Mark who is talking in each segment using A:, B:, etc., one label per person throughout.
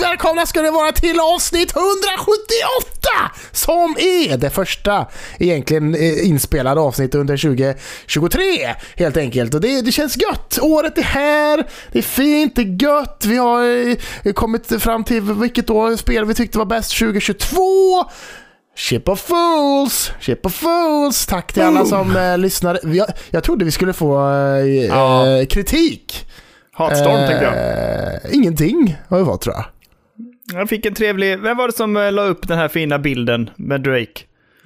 A: välkomna ska det vara till avsnitt 178! Som är det första egentligen eh, inspelade avsnittet under 2023 helt enkelt. Och det, det känns gött! Året är här, det är fint, det är gött. Vi har eh, kommit fram till vilket år spel vi tyckte var bäst 2022. Ship of Fools! Ship of Fools! Tack till alla som eh, lyssnade. Jag, jag trodde vi skulle få eh,
B: Ja.
A: eh, kritik.
B: Hatstorm tänkte jag.
A: Eh. jag. Ingenting har det varit tror jag.
B: Jag fick en trevlig... Vem var det som eh, la upp den här fina bilden med Drake?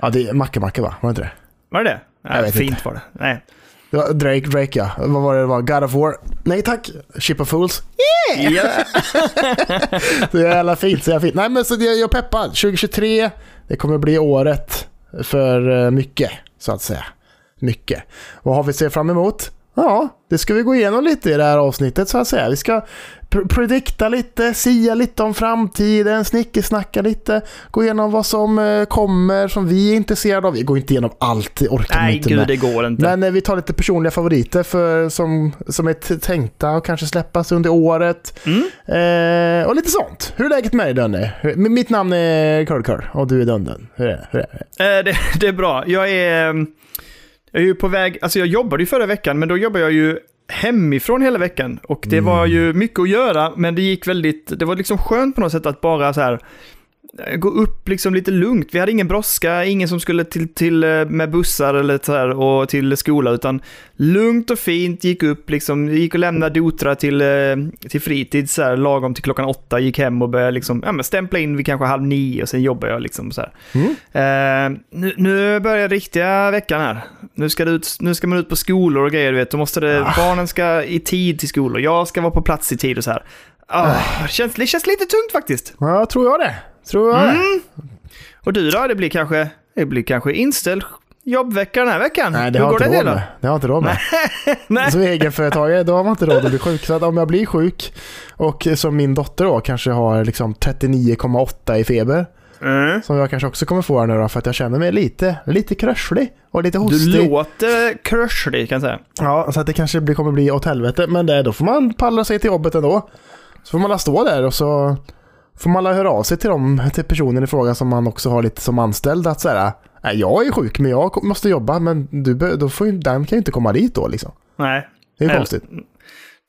A: Ja, det är Macke-Macke va? Var det inte det?
B: Var det det? Nej,
A: Jag vet
B: fint
A: inte.
B: var det. Nej.
A: det var Drake, Drake ja. Vad var det det var? God of War? Nej tack! Ship of Fools.
B: Ja.
A: Det är jävla fint, så jävla fint. Nej men så det- jag är peppad. 2023, det kommer bli året för eh, mycket, så att säga. Mycket. Vad har vi att se fram emot? Ja, det ska vi gå igenom lite i det här avsnittet så att säga. Vi ska pr- predikta lite, sia lite om framtiden, snickesnacka lite, gå igenom vad som eh, kommer som vi är intresserade av. Vi går inte igenom allt, det orkar man
B: Nej,
A: inte
B: gud
A: med.
B: det går inte.
A: Men eh, vi tar lite personliga favoriter för, som, som är t- tänkta och kanske släppas under året.
B: Mm.
A: Eh, och lite sånt. Hur är läget med dig Dönne? Hur- m- Mitt namn är Curl Curl och du är Dönden. Hur är det? Hur är det?
B: Eh, det, det är bra. Jag är, eh, jag är ju på väg, alltså jag jobbade ju förra veckan, men då jobbade jag ju hemifrån hela veckan. Och det var ju mycket att göra, men det gick väldigt, det var liksom skönt på något sätt att bara så här eh, gå upp liksom lite lugnt. Vi hade ingen brådska, ingen som skulle till, till eh, med bussar eller så här och till skola, utan lugnt och fint gick upp liksom, gick och lämnade Dotra till, eh, till fritid så här lagom till klockan åtta, gick hem och började liksom, ja men stämpla in vid kanske halv nio och sen jobbar jag liksom så här.
A: Mm.
B: Eh, nu, nu börjar riktiga veckan här. Nu ska, det ut, nu ska man ut på skolor och grejer, du vet. Då måste det,
A: Ah.
B: Barnen ska i tid till skolor, jag ska vara på plats i tid och så här. Ah, det, känns, det känns lite tungt faktiskt.
A: Ja, tror jag det. Tror jag
B: Mm.
A: det.
B: Och du då? Det blir kanske, det blir kanske inställd jobbvecka den här veckan.
A: Nej, det
B: Hur
A: har,
B: går
A: inte
B: det
A: råd
B: till då?
A: med. det har jag inte råd med.
B: Nej.
A: Som egenföretagare, då har man inte råd att bli sjuk. Så att om jag blir sjuk och eh, som min dotter då kanske har liksom 39,8 i feber,
B: Mm.
A: som jag kanske också kommer få här nu då, för att jag känner mig lite, lite krösslig och lite hostig.
B: Du låter crushly kan jag säga.
A: Ja, så att det kanske blir, kommer bli åt helvete. Men det, då får man pallra sig till jobbet ändå. Så får man alla stå där och så får man alla höra av sig till, dem, till personen i fråga som man också har lite som anställd. Att så här, Nej, jag är sjuk men jag ko- måste jobba. Men du, be- då får, ju- den kan ju inte komma dit då liksom.
B: Nej.
A: Det är ju
B: Eller-
A: konstigt.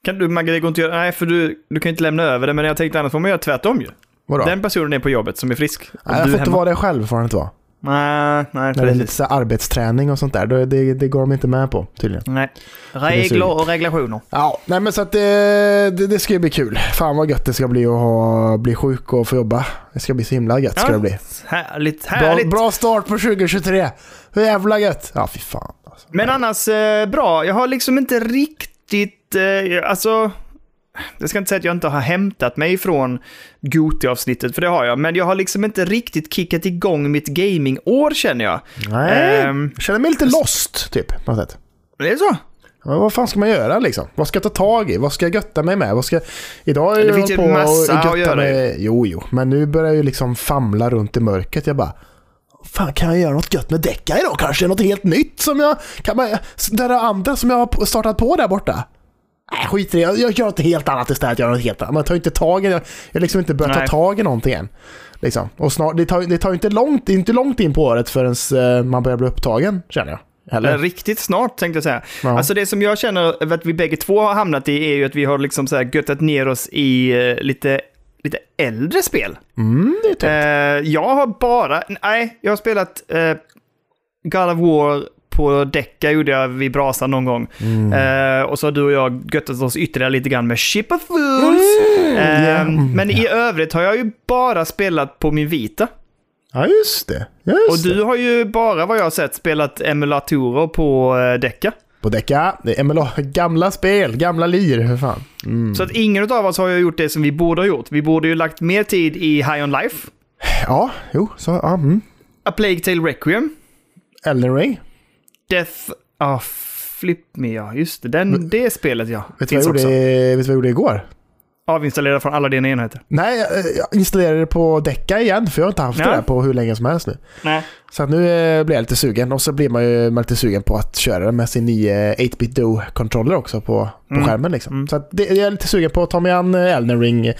B: Kan du, Maggie, det går inte att göra, nej för du, du kan ju inte lämna över det, men jag tänkte annars får man göra tvärtom ju.
A: Vadå?
B: Den personen är på jobbet som är frisk. och
A: Nej, jag
B: du
A: får
B: är
A: inte
B: hemma.
A: vara det själv får han inte vara.
B: Nej, nej,
A: När det är
B: precis.
A: lite så här arbetsträning och sånt där. Då, är det, det går de inte med på tydligen.
B: Nej.
A: är
B: Regler
A: surt.
B: och regulationer.
A: Ja, nej men så att det, det, det ska ju bli kul. Fan vad gött det ska bli att ha, bli sjuk och få jobba. Det ska bli så himla gött ska
B: Ja.
A: det bli.
B: Härligt,
A: Bra,
B: härligt.
A: bra start på 2023. Hur jävla gött. Ja, fy fan. Alltså.
B: Men annars eh, bra. Jag har liksom inte riktigt, eh, alltså, jag ska inte säga att jag inte har hämtat mig från Gothi-avsnittet, för det har jag, men jag har liksom inte riktigt kickat igång mitt gamingår känner jag.
A: Nej,
B: Ehm.
A: jag känner mig lite lost typ. På något sätt.
B: Det är så.
A: Men vad fan ska man göra liksom? Vad ska jag ta tag i? Vad ska jag götta mig med? Vad ska... Idag är
B: Det
A: jag hållit
B: finns ju
A: på och
B: massa att
A: götta
B: göra
A: Med... Jo, jo, men nu börjar jag ju liksom famla runt i mörkret. Jag bara... Fan, kan jag göra något gött med däcka idag? Kanske något helt nytt som jag... Kan man... Det där andra som jag har startat på där borta? Nej, skit i det. Jag, jag gör något helt annat istället. Jag gör något helt annat. Man tar ju inte tag i det. Jag har liksom inte börjat
B: Nej.
A: ta tag i någonting än. Liksom. Och snart, det tar ju det tar ju inte långt, det är inte långt in på året förrän eh, man börjar bli upptagen, känner jag.
B: Eller
A: Eller?
B: riktigt snart tänkte jag säga.
A: Ja.
B: Alltså det som jag känner att vi bägge två har hamnat i är ju att vi har liksom så här göttat ner oss i eh, lite, lite äldre spel.
A: Mm, det är typ.
B: Eh, jag har bara, nej, jag har spelat eh, God of War på Deca gjorde jag vid brasan någon gång.
A: Mm.
B: Eh, och så har du och jag göttat oss ytterligare lite grann med Ship of Fools. Eh,
A: ja. Mm.
B: Men i övrigt har jag ju bara spelat på min vita.
A: Ja, just det. Just
B: Och
A: det.
B: du har ju bara vad jag har sett spelat emulatorer på eh, Deca.
A: På Deca. Det är MLA. Gamla spel, gamla lir. Hur fan. Mm.
B: Så att ingen av oss har ju gjort det som vi borde ha gjort. Vi borde ju lagt mer tid i High On Life,
A: Ja, jo. Så, ja, mm.
B: A Plague Tale Requiem,
A: Elden Ring.
B: Death... ah Flip Me ja, just det. Den, det spelet ja.
A: Vet du vad, jag gjorde, vet du vad jag gjorde igår?
B: avinstallera från alla dina enheter.
A: Nej, eh, jag- jag installerade det på Deca igen, för jag har inte haft
B: Ja.
A: det där på hur länge som helst nu.
B: Nej.
A: Så att nu eh, blir jag lite sugen. Och så blir man ju man är lite sugen på att köra det med sin nya 8-bit Do-controller också på, på
B: Mm.
A: skärmen. Liksom.
B: Mm.
A: Så att det, jag är lite sugen på att ta mig an eh, Elden Ring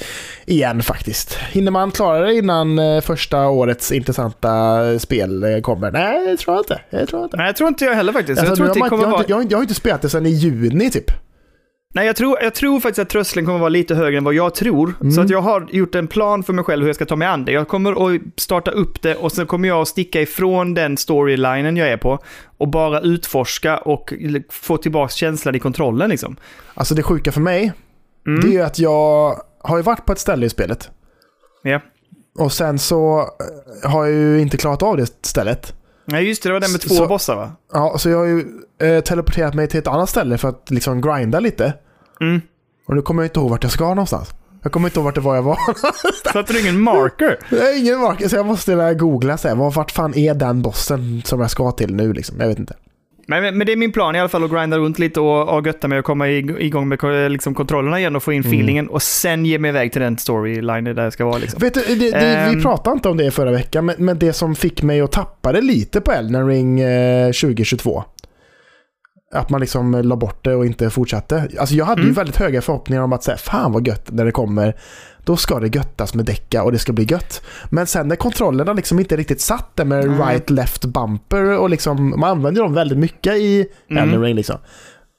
A: igen faktiskt. Hinner man klara det innan eh, första årets intressanta eh, spel eh, kommer? Nej, det tror jag inte. Det tror jag inte.
B: Nej, jag tror inte jag heller faktiskt.
A: Alltså,
B: jag tror
A: nu
B: inte
A: har man-
B: det kommer
A: jag har
B: vara...
A: inte- jag har inte- jag har inte spelat det sedan i juni typ.
B: Nej, jag tror, jag tror faktiskt att tröskeln kommer vara lite högre än vad jag tror. Så
A: Mm.
B: att jag har gjort en plan för mig själv hur jag ska ta mig an det. Jag kommer att starta upp det och sen kommer jag att sticka ifrån den storylinen jag är på och bara utforska och l- få tillbaka känslan i kontrollen liksom.
A: Alltså det sjuka för mig,
B: Mm.
A: det är ju att jag har ju varit på ett ställe i spelet.
B: Ja.
A: Och sen så eh, har jag ju inte klarat av det stället.
B: Nej, just det, det var den med
A: S-
B: två
A: så-
B: bossar va?
A: Ja, så jag har ju eh, teleporterat mig till ett annat ställe för att liksom grinda lite.
B: Mm.
A: Och nu kommer jag inte ihåg vart jag ska någonstans. Jag kommer inte ihåg vart det var jag var.
B: Satte du ingen marker?
A: Det är ingen mark, så jag måste där googla så här, vad- vart fan är den bossen som jag ska till nu liksom? Jag vet inte.
B: Nej, men, men det är min plan i alla fall att grinda runt lite och, och götta mig och komma ig- igång med ko- liksom, kontrollerna igen och få in
A: Mm.
B: feelingen och sen ge mig iväg till den storyline där jag ska vara liksom.
A: Vet du, det, det, vi
B: Ehm.
A: pratade inte om det förra veckan, men, men det som fick mig att tappa det lite på Elden Ring eh, 2022. Att man liksom la bort det och inte fortsatte. Alltså jag hade ju
B: Mm.
A: väldigt höga förhoppningar om att säga, fan vad gött när det kommer. Då ska det göttas med däcka och det ska bli gött. Men sen när kontrollerna liksom inte riktigt satt där med
B: Nej.
A: right left bumper och liksom, man använder dem väldigt mycket i
B: Mm.
A: Elden Ring liksom.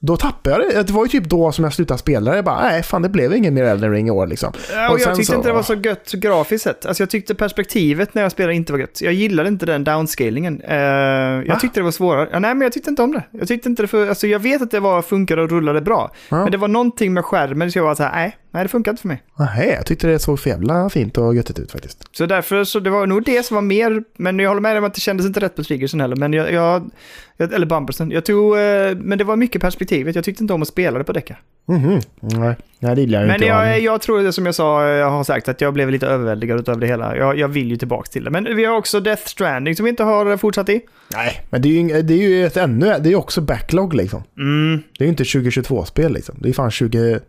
A: Då tappade jag det. Det var ju typ då som jag slutade spela. Jag bara, nej fan det blev ingen mer Elden Ring i år liksom.
B: Ja, och
A: Och
B: jag
A: sen
B: tyckte
A: så-
B: inte det var så gött grafiskt sett. Alltså jag tyckte perspektivet när jag spelade inte var gött. Jag gillade inte den downscalingen. Eh,
A: Va?
B: jag tyckte det var svårare. Ja, nej, men jag tyckte inte om det. Jag tyckte inte det för... Alltså jag vet att det var, funkade och rullade bra.
A: Ja.
B: Men det var någonting med skärmen så jag var så här, nej, nej det funkar inte för mig.
A: Nej, jag tyckte det såg för jävla fint och göttigt ut faktiskt.
B: Så därför så det var nog det som var mer, men jag håller med dig om att det kändes inte rätt på triggersen heller. Men jag, jag, jag eller bumpersen. Jag tog, eh, men det var mycket perspektivet. Jag tyckte inte om att spela det på däcka.
A: Mhm. Nej, nej, det gillar jag
B: Men
A: inte.
B: jag, jag tror det som jag sa, jag har sagt att jag blev lite överväldigad av det hela. Jag, jag vill ju tillbaka till det. Men vi har också Death Stranding som vi inte har fortsatt i.
A: Nej, men det är ju, ing- det är ju ett ännu... Det är ju också backlog liksom.
B: Mm.
A: Det är ju inte 2022-spel liksom. Det är fan 20...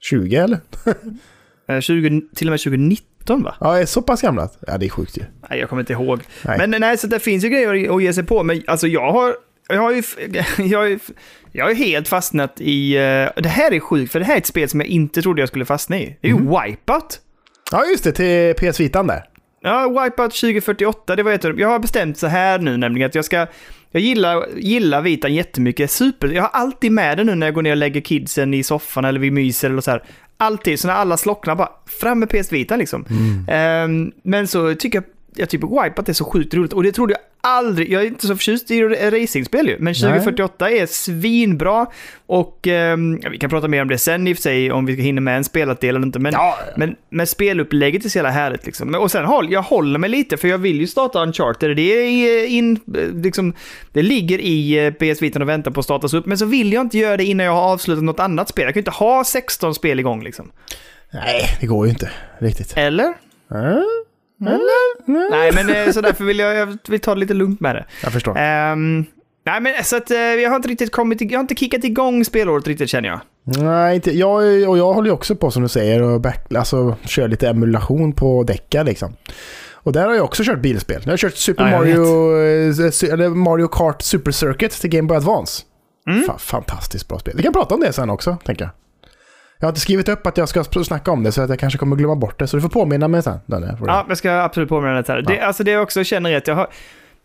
A: 20 eller?
B: Eh, 20, till och med 2019 va?
A: Ja, det är så pass gamla. Ja, det är sjukt ju.
B: Nej, jag kommer inte ihåg.
A: Nej.
B: Men nej, så det finns ju grejer att ge sig på. Men alltså jag har... Jag har ju... Jag har ju jag är helt fastnat i... eh, Det här är sjukt, för det här är ett spel som jag inte trodde jag skulle fastna i. Det är ju Wipeout.
A: Ja, just det. Till PS Vitan där.
B: Ja, Wipeout 2048, det var ett av dem. Jag har bestämt så här nu nämligen att jag ska... Jag gillar, gillar vitan jättemycket. Super. Jag har alltid med den nu när jag går ner och lägger kidsen i soffan eller vi myser eller så här. Alltid, så när alla slocknar bara, fram med PS Vitan liksom. Ehm, men så tycker jag, jag tycker Wipeout är så sjukt roligt och det trodde jag aldrig, jag är inte så förtjust i racingspel ju, men 2048 är svinbra och ehm, ja, vi kan prata mer om det sen i och för sig om vi ska hinna med en spelat del eller inte, men
A: Ja,
B: men, men spelupplägget är så jävla härligt liksom. Men- Och sen håll, jag håller mig lite för jag vill ju starta Uncharted. Det är eh, in, eh, liksom, det ligger i eh, PS Vitan och väntar på att startas upp. Men så vill jag inte göra det innan jag har avslutat något annat spel. Jag kan ju inte ha 16 spel igång liksom.
A: Nej, det går ju inte riktigt.
B: Eller?
A: Ja,
B: Nej, men eh, så därför vill jag, jag vill ta det lite lugnt med det.
A: jag förstår.
B: Ehm, nej, men så att eh, jag har inte riktigt kommit, ig- jag har inte kickat igång spelåret riktigt känner jag.
A: Nej, inte. Jag, och jag håller ju också på som du säger och back, alltså, kör lite emulation på däcka liksom. Och där har jag också kört bilspel. Jag har kört Super
B: Ja, jag
A: Mario, eh, su- eller Mario Kart Super Circuit till Game Boy Advance.
B: Mm.
A: Fa- fantastiskt bra spel. Vi kan prata om det sen också, tänker jag. Jag har inte skrivit upp att jag ska sp- snacka om det så att jag kanske kommer glömma bort det. Så du får påminna mig sen. Danne, får du.
B: Ja, jag ska absolut påminna dig om det här. Det, alltså det jag också känner är att jag har...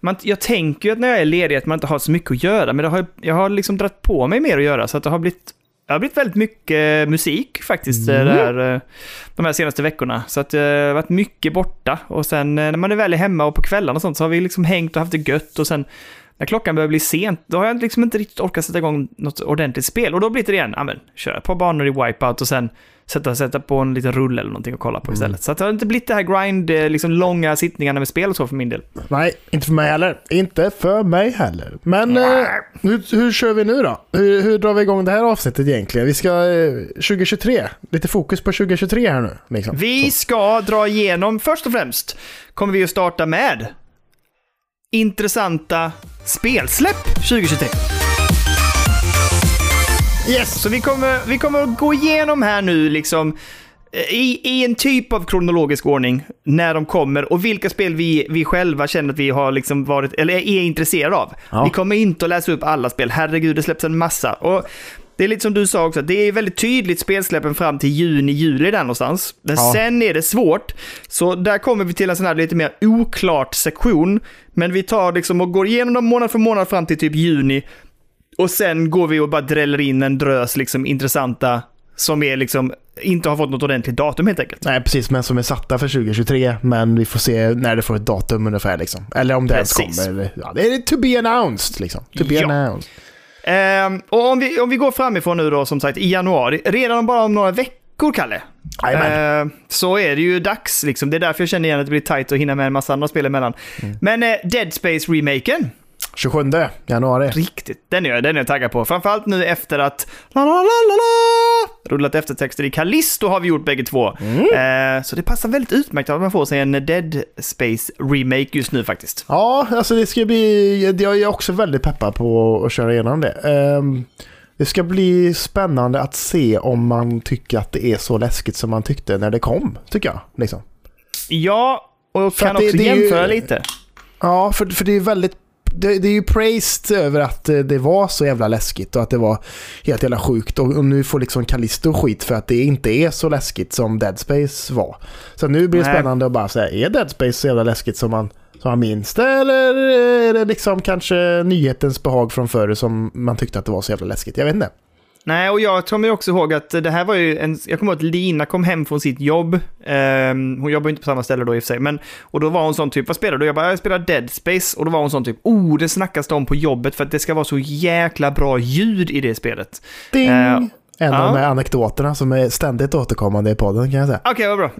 B: Man, jag tänker ju att när jag är ledig att man inte har så mycket att göra, men det har, jag har liksom dragit på mig mer att göra, så att det har blivit... Det har blivit väldigt mycket eh, musik faktiskt eh, det här, eh, de här senaste veckorna. Så att eh, jag har varit mycket borta. Och sen eh, när man är väl är hemma och på kvällarna och sånt så har vi liksom hängt och haft det gött. Och sen när klockan börjar bli sent, då har jag liksom inte riktigt orkat sätta igång något ordentligt spel. Och då blir det igen, ja men köra ett par banor i Wipeout och sen sätta, sätta på en liten rulle eller någonting och kolla på istället. Så att det har inte blivit det här grind, eh, liksom långa sittningarna med spel och så för min del.
A: Nej, inte för mig heller. Inte för mig heller. Men eh, hur, hur kör vi nu då? Hur, hur drar vi igång det här avsnittet egentligen? Vi ska eh, 2023. Lite fokus på 2023 här nu. Liksom.
B: Vi ska dra igenom, först och främst kommer vi att starta med intressanta spelsläpp 2023.
A: Yes!
B: Så vi kommer, vi kommer att gå igenom här nu liksom i, i en typ av kronologisk ordning när de kommer och vilka spel vi, vi själva känner att vi har liksom varit, eller är intresserade av.
A: Ja.
B: Vi kommer inte att läsa upp alla spel, herregud det släpps en massa. Och det är lite som du sa också, det är väldigt tydligt spelsläppen fram till juni, juli där någonstans. Men
A: Ja.
B: sen är det svårt. Så där kommer vi till en sån här lite mer oklart sektion. Men vi tar liksom och går igenom dem månad för månad fram till typ juni. Och sen går vi och bara dräller in en drös liksom intressanta som är liksom inte har fått något ordentligt datum helt enkelt.
A: Nej, precis. Men som är satta för 2023. Men vi får se när det får ett datum ungefär. Liksom. Eller om det ens
B: Precis.
A: kommer. Ja, det är to be announced. Liksom. To be
B: Ja.
A: announced.
B: Ehm, och om vi, om vi går framifrån nu då som sagt i januari, redan om bara om några veckor Kalle,
A: Jajamän.
B: ehm, så är det ju dags liksom. Det är därför jag känner igen att det blir tajt att hinna med en massa andra spel emellan. Men eh, Dead Space remaken
A: 27 januari.
B: Riktigt, den är, jag- den är jag taggad på. Framförallt nu efter att la, la, la, la, la, rullat eftertexter i Callisto har vi gjort bägge två.
A: Mm.
B: Eh, så det passar väldigt utmärkt att man får sig en Dead Space remake just nu faktiskt.
A: Ja, alltså det ska bli... Jag är också väldigt peppad på att köra igenom det. Ehm, det ska bli spännande att se om man tycker att det är så läskigt som man tyckte när det kom, tycker jag. Liksom.
B: Ja, och
A: För
B: kan
A: att det-
B: också
A: det är ju-
B: jämföra lite.
A: Ja, för, för det är ju väldigt... Det, det är ju praised över att eh, det var så jävla läskigt och att det var helt jävla sjukt. Och, och nu får liksom Callisto skit för att det inte är så läskigt som Dead Space var. Så nu blir det
B: Nej.
A: spännande att bara säga, är Dead Space så jävla läskigt som man, som man minns det? Eller är det liksom kanske nyhetens behag från förr som man tyckte att det var så jävla läskigt? Jag vet inte.
B: Nej, och jag kommer också ihåg att det här var ju en... Jag kommer ihåg att Lina kom hem från sitt jobb. Ehm, hon jobbar ju inte på samma ställe då i och för sig, men... Och då var hon sån typ, vad spelar du? Jag bara, jag spelar Dead Space. Och då var hon sån typ, oh, det snackas det om på jobbet för att det ska vara så jäkla bra ljud i det spelet.
A: Ding!
B: Eh,
A: en
B: ja.
A: av de här anekdoterna som är ständigt återkommande i podden kan jag säga.
B: Okej, vad bra.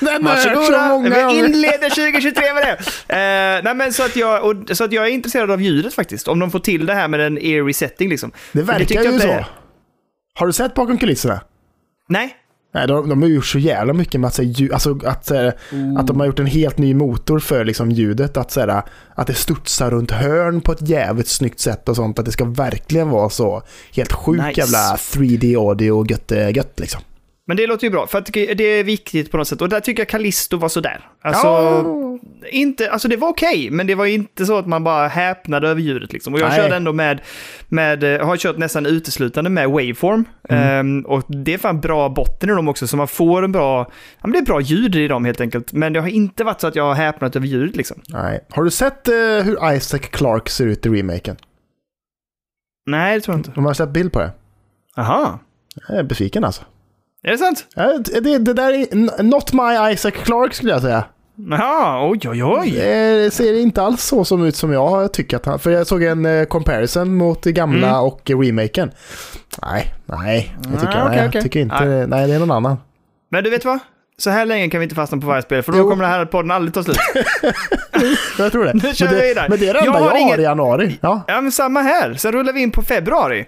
A: Den
B: Varsågoda, vi inleder 2023 med det. Eh, nej, men så, att jag, och, så att jag är intresserad av ljudet faktiskt, om de får till det här med en eerie setting liksom.
A: Det
B: För tyckte
A: verkar
B: jag
A: ju
B: inte-
A: så. Har du sett bakom kulisserna?
B: Nej,
A: Nej, de, de har gjort så jävla mycket med att, så här, ljud, alltså, att, så här, att de har gjort en helt ny motor för liksom, ljudet. Att, så här, att det studsar runt hörn på ett jävligt snyggt sätt och sånt. Att det ska verkligen vara så helt sjukt
B: Nice.
A: jävla 3D-audio och gött, eh, gött liksom.
B: men det låter ju bra, för att det det är viktigt på något sätt. Och där tycker jag Callisto var sådär. Alltså, inte, alltså det var okej, men det var inte så att man bara häpnade över ljudet liksom. Och jag
A: Nej.
B: körde ändå med, med, eh, har kört nästan uteslutande med waveform. Ehm, och det är fan bra botten i dem också, så man får en bra, ja men det är bra ljud i dem helt enkelt. Men det har inte varit så att jag har häpnat över ljudet liksom.
A: Nej. Har du sett eh, hur Isaac Clarke ser ut i remaken?
B: Nej, det tror jag inte.
A: De har släppt bild på det.
B: Aha.
A: Jag är besviken alltså.
B: Är det sant?
A: Eh, Det, det där är n- not my Isaac Clarke skulle jag säga.
B: Ja, oj oj oj.
A: Eh, Det ser inte alls så som ut som jag tycker att han... För jag såg en eh, comparison mot det gamla
B: Mm.
A: och remaken. Nej, nej. Jag tycker,
B: Ah,
A: nej,
B: okej,
A: jag
B: okej.
A: tycker inte... Nej. det är någon annan.
B: Men du vet vad? Så här länge kan vi inte fastna på varje spel, för då
A: Jo.
B: kommer den här podden aldrig ta slut.
A: Jag tror det.
B: Nu kör
A: men,
B: vi
A: det
B: vidare.
A: men det är det
B: Jag
A: enda jag
B: har
A: har,
B: inget-
A: i januari. Ja,
B: Ja, men samma här. Sen rullar vi in på februari.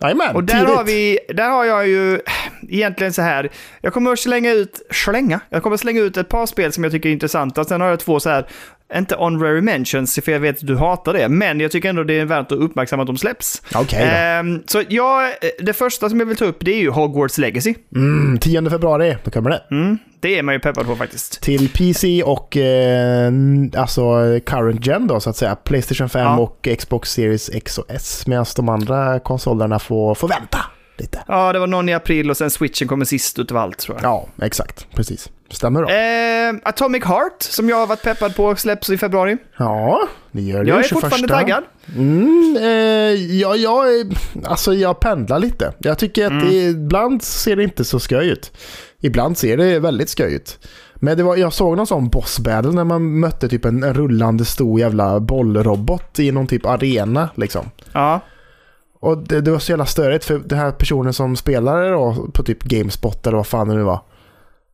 A: jajamän.
B: Och där
A: tidigt.
B: har, vi, där har jag ju eh, egentligen så här, jag kommer att slänga ut, slänga, jag kommer att slänga ut ett par spel som jag tycker är intressanta, sen har jag två så här, inte honorary mentions, för jag vet att du hatar det, men jag tycker ändå det är värt att uppmärksamma att de släpps.
A: Okej då.
B: Ehm, så jag, det första som jag vill ta upp det är ju Hogwarts Legacy.
A: Mm, 10 februari, då kommer det.
B: Mm, det är man ju peppad på faktiskt.
A: Till PC och eh, n- alltså current gen då så att säga. Playstation 5
B: Ja.
A: och Xbox Series X och S. Medan de andra konsolerna får, får vänta lite.
B: Ja, det var någon i april och sen switchen kommer sist utav allt tror jag.
A: Ja, exakt. Precis. Stämmer då.
B: Ehm, Atomic Heart, som jag har varit peppad på, släpps i februari.
A: Ja, det gör det
B: Jag
A: ju,
B: är fortfarande
A: 21.
B: taggad.
A: Mm, eh, ja, jag, är- alltså jag pendlar lite. Jag tycker att
B: Mm.
A: det, ibland ser det inte så sköj ut. Ibland ser det väldigt sköj ut. Men det var, jag såg någon sån boss battle när man mötte typ en, en rullande stor jävla bollrobot i någon typ arena liksom.
B: Ja.
A: Och det, det var så jävla störigt för den här personen som spelade då på typ Gamespot eller vad fan det nu var.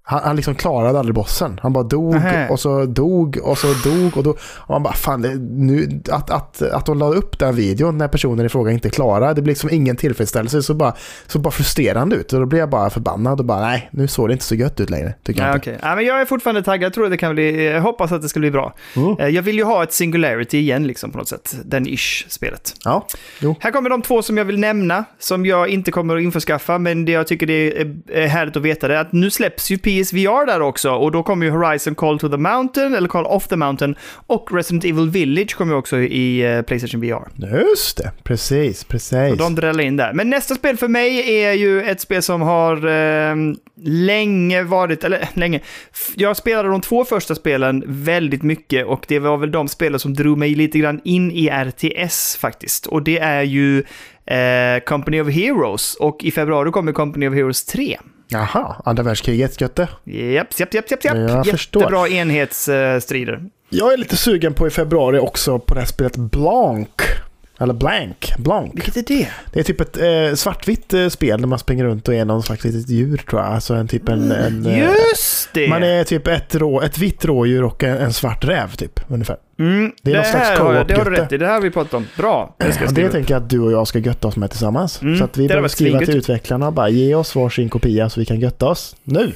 A: Han, han liksom klarade aldrig bossen. Han bara dog
B: Nähä.
A: och så dog och så dog och då... Och man bara fan, det, nu, att, att, att de la upp den videon när personen i fråga inte klarade, det blir liksom ingen tillfredsställelse. Så bara, så bara frustrerande ut. Och då blev jag bara förbannad och bara nej, nu såg det inte så gött ut längre. Tycker jag
B: Ja,
A: inte.
B: okej. Ja, men jag är fortfarande taggad, jag tror att det kan bli, jag hoppas att det ska bli bra.
A: Mm.
B: Eh, Jag vill ju ha ett singularity igen liksom på något sätt, den ish-spelet.
A: Ja, jo.
B: Här kommer de två som jag vill nämna, som jag inte kommer att införskaffa, men det jag tycker det är- är härligt att veta det är att nu släpps ju PSVR där också, och då kommer ju Horizon Call to the Mountain, eller Call of the Mountain, och Resident Evil Village kommer ju också i eh, Playstation VR.
A: Just det, precis,
B: Så
A: precis.
B: de dräller in där. Men nästa spel för mig är ju ett spel som har eh, länge varit, eller länge, F- jag spelade de två första spelen väldigt mycket och det var väl de spelen som drog mig lite grann in i RTS faktiskt. Och det är ju eh, Company of Heroes och i februari kommer Company of Heroes 3.
A: Jaha, andra världskriget, gött det.
B: Japp, japp, japp, japp, japp.
A: Jag förstår.
B: Jättebra enhetsstrider.
A: Jag är lite sugen på i februari också på det här spelet Blanc. Eller Blank, Blanc.
B: Vilket är det?
A: Det är typ ett eh, svartvitt eh, spel där man springer runt och är någon slags litet djur tror jag. Alltså en typ en... en
B: Mm,
A: eh,
B: Just det!
A: man är typ ett, rå, ett vitt rådjur och en, en svart räv typ, ungefär.
B: mm,
A: det är någon slags
B: här har, jag- det har du
A: co-op-götte.
B: rätt i, det här har vi pratat om. Bra, det ska jag
A: Och
B: skriva
A: det
B: upp.
A: tänker jag att du och jag ska götta oss med tillsammans.
B: Mm,
A: Så att
B: det
A: vi
B: hade
A: behöver
B: varit
A: skriva till
B: svingött.
A: utvecklarna och bara ge oss varsin kopia så vi kan götta oss nu.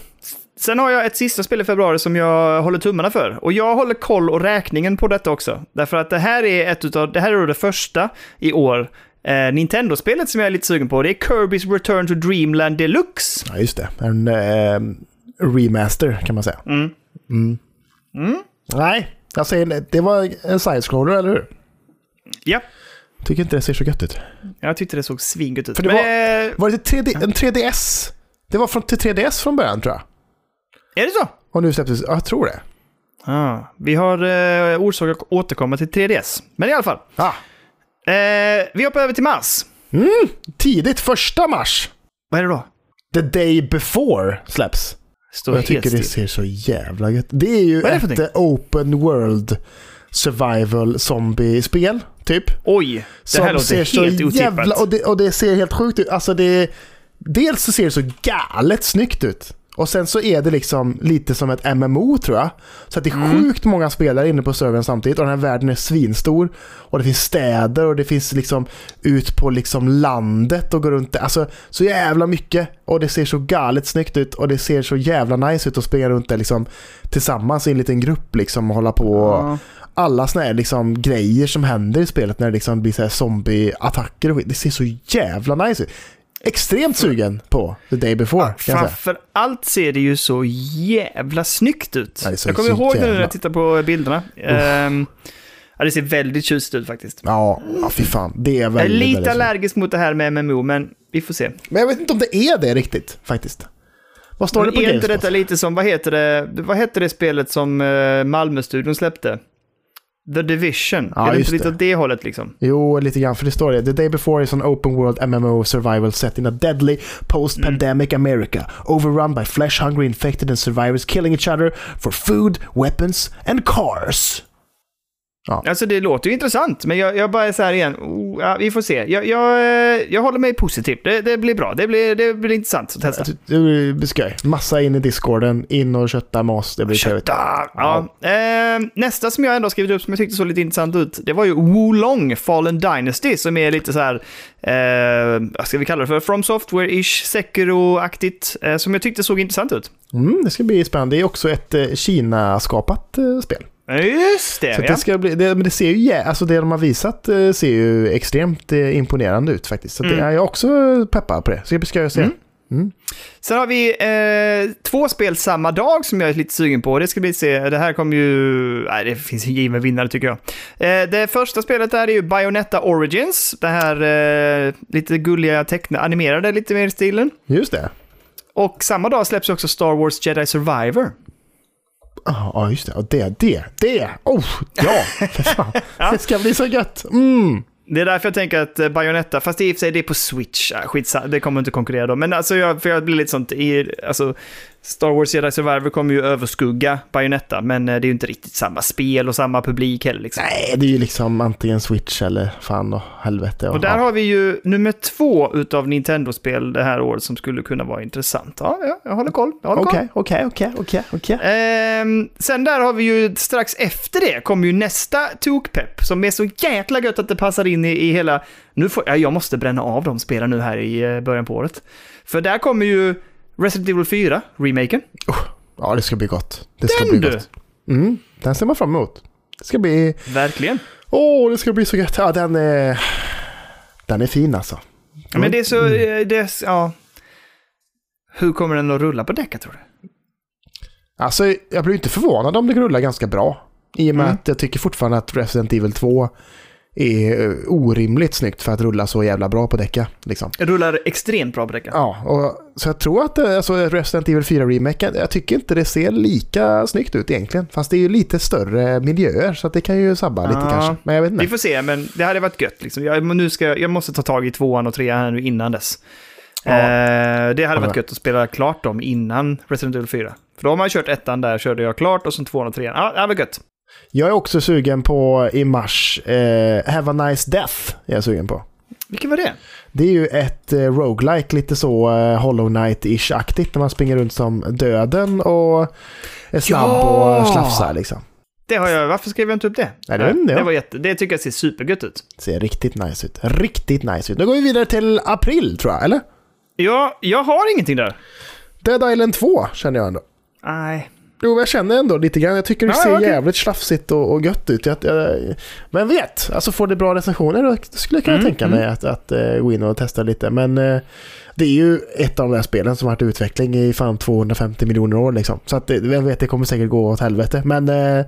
B: Sen har jag ett sista spel i februari som jag håller tummarna för. Och jag håller koll och räkningen på detta också. Därför att det här är ett utav, det här är då det första i år eh, Nintendo-spelet som jag är lite sugen på. Det är Kirby's Return to Dreamland Deluxe.
A: Ja, just det. En eh, remaster kan man säga.
B: Mm.
A: Mm.
B: Mm.
A: Nej, jag säger nej. det var en side-scroller, eller hur?
B: Ja,
A: Tycker inte det ser så gött ut.
B: jag tyckte det såg svingött ut.
A: För det
B: Men,
A: var-
B: eh,
A: Var det 3D, en 3DS? Det var från, till 3DS från början tror jag.
B: Är det så?
A: Och nu släpptes, ja, jag tror det.
B: Ah, vi har eh, orsak att återkomma till 3DS. Men i alla fall.
A: Ah,
B: Eh, vi hoppar över till Mars.
A: tidigt, första mars.
B: Vad är det då?
A: The day before släpps.
B: Står
A: Och jag tycker
B: helt
A: det
B: still.
A: ser så jävla gött Det är ju
B: Vad är det för
A: ett eh, open world survival zombie-spel, typ.
B: Oj, det
A: Som
B: här låter
A: ser
B: helt
A: så
B: otippat.
A: jävla, och, det, och det ser helt sjukt ut. Alltså det, dels så ser det så galet snyggt ut. Och sen så är det liksom lite som ett MMO tror jag. Så att det är sjukt många spelare inne på servern samtidigt och den här världen är svinstor. Och det finns städer och det finns liksom ut på liksom landet och gå runt där. Alltså så jävla mycket. Och det ser så galet snyggt ut och det ser så jävla nice ut att springa runt där liksom tillsammans i en liten grupp liksom och hålla på och
B: Ja.
A: alla såna här liksom grejer som händer i spelet när det liksom blir så här zombieattacker och skit. Det ser så jävla nice ut. Extremt sugen på The Day Before.
B: Ah,
A: kan jag säga.
B: Framför allt ser det ju så jävla snyggt ut.
A: Ja, det ser
B: jag kommer
A: så
B: ihåg det när
A: jävla-
B: jag tittade på bilderna. Ehm, ja, det ser väldigt tjusigt ut faktiskt.
A: Ja, ja, fy fan. Det är
B: Jag är
A: väldigt,
B: lite
A: väldigt sugen.
B: allergisk mot det här med MMO, men vi får se.
A: Men jag vet inte om det är det riktigt faktiskt. Vad står
B: Men
A: det på
B: är inte detta
A: Gamespot?
B: lite som, vad heter det, vad heter det spelet som eh, Malmö-studion släppte? The Division.
A: Ja,
B: är det
A: just
B: inte lite
A: det.
B: åt det hållet liksom?
A: Jo, lite grann, för det står det. The day before is an open world MMO survival set in a deadly post-pandemic
B: Mm.
A: America, overrun by flesh-hungry infected and survivors killing each other for food, weapons and cars.
B: Alltså det låter ju intressant, men jag, jag bara är så här igen, oh, ja, vi får se. Jag, jag, eh, jag håller mig positiv, det, det blir bra, det blir, det blir intressant att
A: Alltså,
B: testa.
A: Du blir skoj. Massa in i discorden, in och kötta med oss. Det blir trevligt.
B: Kötta! Ah, Ja. Eh, nästa som jag ändå skrivit upp som jag tyckte såg lite intressant ut, det var ju Wolong Fallen Dynasty som är lite så här, eh, vad ska vi kalla det för, From Software-ish, Sekiro-aktigt, eh, som jag tyckte såg intressant ut.
A: Mm, det ska bli spännande. Det är också ett eh, Kina-skapat eh, spel.
B: Ja, Just det,
A: Så att
B: ja.
A: det, ska bli, det, men det ser ju, jä- alltså det de har visat eh, ser ju extremt eh, imponerande ut faktiskt. Så att det,
B: Mm.
A: jag är också peppad på det. Så det ska jag se.
B: Mm. Sen har vi eh, två spel samma dag som jag är lite sugen på. Det ska vi se. Det här kommer ju... Nej, det finns en given vinnare tycker jag. Eh, det första spelet där är ju Bayonetta Origins. Det här eh, lite gulliga teckna, animerade lite mer i stilen.
A: Just det.
B: Och samma dag släpps ju också Star Wars Jedi Survivor.
A: Ja, ah, just det. Och det, det, det. Oh, ja, för fan. Det ska bli så gött. Mm.
B: Det är därför jag tänker att eh, Bayonetta, fast det är i och för sig det är på Switch, ah, skitsa, det kommer inte konkurrera då. Men alltså jag, för jag blir lite sånt i, alltså Star Wars Jedi Survivor kommer ju överskugga Bayonetta, men eh, det är ju inte riktigt samma spel och samma publik heller. Liksom.
A: Nej, det är ju liksom antingen Switch eller fan då, helvete.
B: Och där har vi ju nummer två utav Nintendo-spel det här året som skulle kunna vara intressant. Ja, ja jag håller koll. Jag håller koll.
A: Okej, okej, okej, okej, okej.
B: Ehm, sen där har vi ju strax efter det kommer ju nästa tokpepp som är så jäkla gött att det passar in i, i hela... Nu får, ja, jag måste bränna av de spelen nu här i eh, början på året. För där kommer ju Resident Evil 4, remaken.
A: Ja, det ska bli gott. Det ska
B: Den
A: bli
B: du!
A: gott. Mm, den ser man fram emot. Det ska bli...
B: Verkligen.
A: Åh, det ska bli så gött. Ja, den är... Den är fin alltså.
B: Ja, Men det är så...
A: Mm.
B: eh, Det är, s- ja. Hur kommer den att rulla på däcket tror du?
A: Alltså, jag blir inte förvånad om det rullar ganska bra. I och med
B: Mm.
A: att jag tycker fortfarande att Resident Evil 2 är eh, orimligt snyggt för att rulla så jävla bra på däcka. Liksom.
B: Rullar extremt bra på däcket.
A: Ja, och, så jag tror att eh, alltså, Resident Evil 4 remaken, jag tycker inte det ser lika snyggt ut egentligen. Fast det är ju lite större miljöer så att det kan ju sabba lite
B: Ja.
A: kanske. Men jag vet inte.
B: Vi får se, men det hade varit gött. Liksom. Jag, men nu ska, jag måste ta tag i tvåan och trean här nu innan dess.
A: Ja.
B: Eh, det hade
A: Håller
B: varit
A: med.
B: gött att spela klart dem innan Resident Evil 4. För då har man kört ettan där, körde jag klart och sen tvåan och trean. Ja, det var gött.
A: Jag är också sugen på i mars, eh, Have a Nice Death är jag sugen på.
B: Vilken var det?
A: Det är ju ett eh, roguelike, lite så eh, Hollow Knight-ish-aktigt när man springer runt som döden och är snabb
B: Ja!
A: och slafsar liksom.
B: Det har jag, varför skrev jag inte upp det?
A: Nej, det vet inte jag.
B: det, var jätte, det tycker jag ser supergött ut.
A: Ser riktigt nice ut. Riktigt nice ut. Nu går vi vidare till april tror jag, eller?
B: Ja, jag har ingenting där.
A: Dead Island 2 känner jag ändå.
B: Nej.
A: Jo, jag känner ändå lite grann. Jag tycker det
B: Ja,
A: ser
B: ja, okej.
A: jävligt slafsigt och, och gött ut. Jag, jag, men vet, alltså får det bra recensioner då skulle jag kunna
B: Mm,
A: tänka
B: mm.
A: mig att, att eh, gå in och testa lite. Men eh, det är ju ett av de där spelen som har varit i utveckling i fan 250 miljoner år liksom. Så att, det- vem vet, det kommer säkert gå åt helvete. Men eh,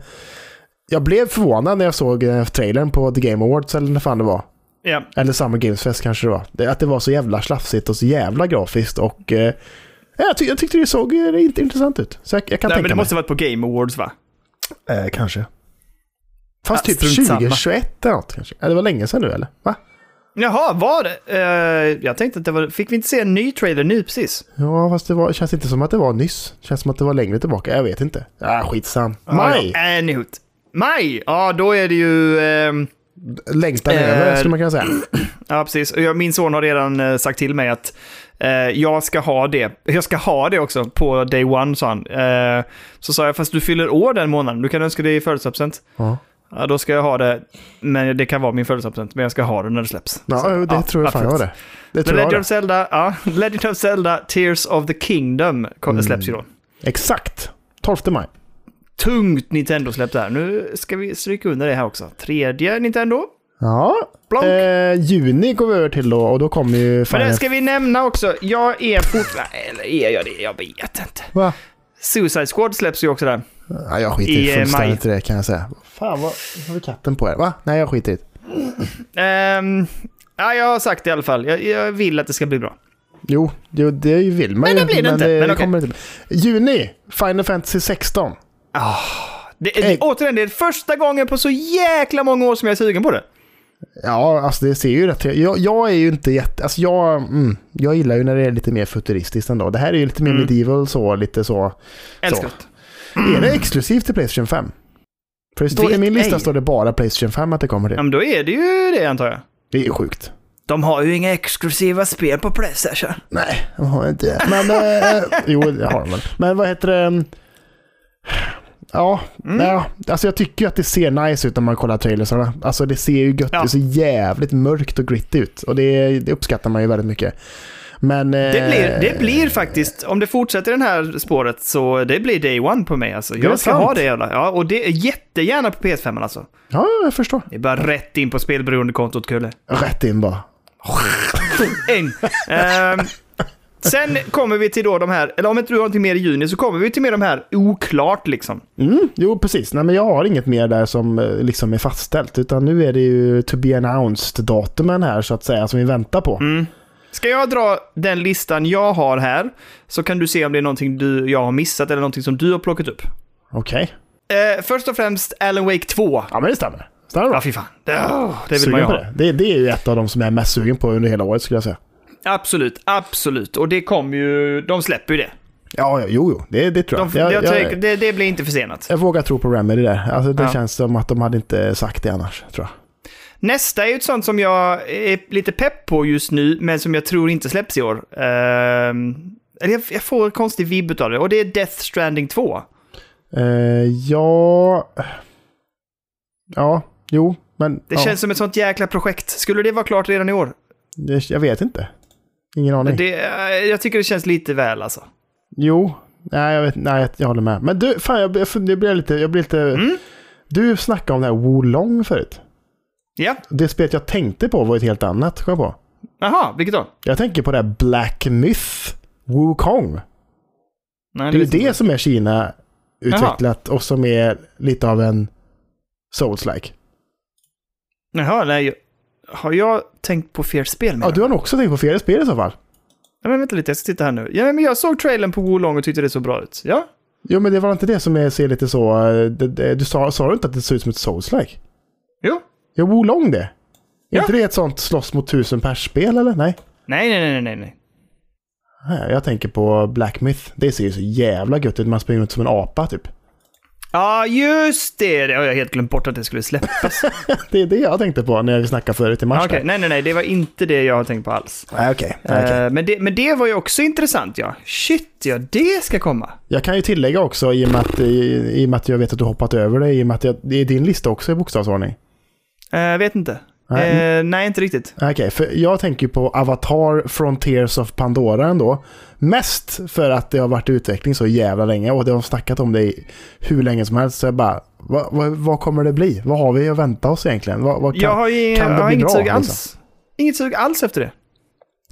A: jag blev förvånad när jag såg eh, trailern på The Game Awards eller när fan det var.
B: Ja.
A: Eller Summer Games Fest kanske det var. Det, att det var så jävla slafsigt och så jävla grafiskt och eh, jag, ty- jag tyckte det såg eh, inte intressant ut. Så jag, jag kan
B: Nej, men
A: tänka
B: det
A: mig.
B: måste varit på Game Awards va?
A: Eh, kanske. Fast
B: Ja,
A: typ
B: strunt samma.
A: 2021 eller något kanske. Ja, det var länge sedan nu eller? Va?
B: Jaha, var det? Eh, jag tänkte att det var... Fick vi inte se en ny trailer nu precis?
A: Ja, fast det var, känns inte som att det var nyss. Känns som att det var längre tillbaka. Jag vet inte. Ah, skitsam. Maj!
B: Ja, ja. Anyhoot. Maj! Ja, då är det ju... ehm,
A: Längsta
B: Eh,
A: över skulle man kunna säga.
B: Ja, precis. Och jag- Min son har redan eh, sagt till mig att eh, jag ska ha det. Jag ska ha det också på day one, sa han. Eh, så sa jag, fast du fyller år den månaden. Du kan önska det i födelsedagspresent.
A: Ja,
B: Ja, då ska jag ha det. Men det kan vara min födelsedagspresent, men jag ska ha det när det släpps.
A: ja
B: Så,
A: det tror jag fan jag var det. Det
B: Men
A: tror jag
B: Legend
A: var
B: of, Zelda, ja, Legend of Zelda, Tears of the Kingdom kom,
A: Mm.
B: släpps ju då.
A: det. Exakt! 12 maj.
B: Tungt Nintendo-släpp där. Nu ska vi stryka under det här också. Tredje Nintendo.
A: Ja.
B: Blonk.
A: Eh, juni går vi över till då och då kommer ju...
B: Men
A: Final-
B: det ska vi nämna också. Jag är fortfarande... Eller är jag det? Jag vet inte.
A: Va?
B: Suicide Squad släpps ju också där.
A: Ja, jag skiter
B: I,
A: i
B: eh,
A: fullständigt i det kan jag säga. Fan, vad har vi katten på er? Va? Nej, jag skiter i det.
B: Ehm, ja, jag har sagt det i alla fall. Jag, jag vill att det ska bli bra.
A: Jo, jo, det vill man
B: Men
A: ju.
B: det blir det inte. Men okej.
A: kommer inte. bli. Juni, Final Fantasy 16.
B: Det, det,
A: Ägg.
B: återigen, det är första gången på så jäkla många år som jag är sugen på det.
A: Ja, alltså det ser ju rätt... Jag, jag är ju inte jätte... Alltså jag, mm, jag gillar ju när det är lite mer futuristiskt ändå. Det här är ju lite mer
B: Mm.
A: medieval så, lite så.
B: Älskar det.
A: Är det exklusivt till Playstation 5? För det står,
B: Vet
A: i min lista
B: ej.
A: står det bara Playstation 5 att det kommer till.
B: Ja, men då är det ju det antar jag.
A: Det är ju sjukt.
B: De har ju inga exklusiva spel på Playstation.
A: Nej, jag har inte det. Men, eh, jo, det har de väl. Men vad heter det? Ja,
B: Mm.
A: ja, alltså jag tycker ju att det ser nice ut när man kollar trailersarna. Alltså det ser ju gött,
B: Ja.
A: det ser jävligt mörkt och gritty ut. Och det, det uppskattar man ju väldigt mycket. Men... eh,
B: Det blir, det blir faktiskt, om det fortsätter den här spåret, så det blir day one på mig alltså.
A: Det är
B: Jag ska
A: sant.
B: ha det jävla. Ja, och det är jättegärna på PS5 alltså.
A: Ja, jag förstår.
B: Det är bara rätt in på spelberoendekontot, Kulle.
A: Rätt in bara.
B: In. Ehm, sen kommer vi till då de här, eller om inte du har någonting mer i juni så kommer vi till mer de här oklart liksom.
A: Mm, jo, precis. Nej, men jag har inget mer där som eh, liksom är fastställt. Utan nu är det ju to be announced-datumen här så att säga som vi väntar på.
B: Mm. Ska jag dra den listan jag har här så kan du se om det är någonting du, jag har missat eller någonting som du har plockat upp.
A: Okej.
B: Eh, först och främst Alan Wake 2.
A: Ja, men det stämmer. Stämmer bra.
B: Ja, fy fan. Det, åh, det vill
A: Sugen
B: man ju
A: på
B: ha.
A: det. Det, det är ju ett av de som jag är mest sugen på under hela året skulle jag säga.
B: Absolut, absolut. Och det kommer ju, de släpper ju det.
A: Ja, ja, jo, jo, det, det tror
B: De,
A: jag. jag,
B: jag,
A: jag,
B: tänker- det, det blir inte försenat.
A: jag vågar tro på Remedy där. Alltså, det
B: Ja.
A: känns som att de hade inte sagt det annars, tror jag.
B: Nästa är ju ett sånt som jag är lite pepp på just nu, men som jag tror inte släpps i år. Ehm, eller jag, jag får en konstig vibb av det, och det är Death Stranding 2.
A: Eh, ja... Ja, jo, men...
B: Det
A: ja,
B: känns som ett sånt jäkla projekt. Skulle det vara klart redan i år?
A: det, jag vet inte. Ingen aning.
B: Det, eh, jag tycker det känns lite väl alltså.
A: Jo, nej jag, vet, nej jag- jag håller med. Men du, fan jag, jag, fun- jag blir lite... Jag blir lite
B: Mm.
A: Du snackade om det här Wolong förut.
B: Ja,
A: Det spelet jag tänkte på var ett helt annat, kom jag på.
B: jaha, vilket då?
A: Jag tänker på det här Black Myth Wukong.
B: Nej,
A: Det är ju
B: visste jag
A: det som är Kina-utvecklat och som är lite av en Souls-like.
B: inte. Jaha, nej. jag- Har jag tänkt på fel spel? menar
A: Ja, du har nog också tänkt på fel spel i så fall.
B: Nej, men vänta lite, jag ska titta här nu. Ja, men jag såg trailern på Wolong och tyckte det såg bra ut. Ja?
A: Jo, men det var inte det som är, ser lite så... eh, det- det- Du sa, sa du inte att det ser ut som ett Souls-like?
B: Jo?
A: Ja, Wolong det. Är
B: Ja.
A: inte det ett sånt slåss mot tusen pers-spel eller? Nej.
B: Nej, nej, nej, nej, nej.
A: Nej, Jag tänker på Black Myth. Det ser ju så jävla gött ut. Man springer runt som en apa typ.
B: Ja, just det! Det har jag helt glömt bort att det skulle släppas.
A: Det är det jag tänkte på när vi snackade förut i
B: Ja,
A: mars.
B: Okej,
A: där.
B: nej, nej, nej, det var inte det jag har tänkt på alls.
A: Nej, okej. Nej, okej.
B: Eh, men, det, men det var ju också intressant, ja. Shit, ja, det ska komma.
A: Jag kan ju tillägga också i och med att, i, i och med att jag vet att du hoppat över det, i och med att jag, det är din lista också i bokstavsordning.
B: Eh, vet inte.
A: Nej.
B: Eh, nej, inte riktigt.
A: Okej, för jag tänker ju på Avatar Frontiers of Pandora ändå. Mest för att det har varit i utveckling så jävla länge och det har snackat om det i hur länge som helst. Så jag bara, vad, vad, vad kommer det bli? Vad har vi att vänta oss egentligen? Vad, vad kan,
B: jag har, ju,
A: kan det
B: jag har
A: bli
B: inget
A: bra,
B: sug alls.
A: liksom?
B: Inget sug alls efter det.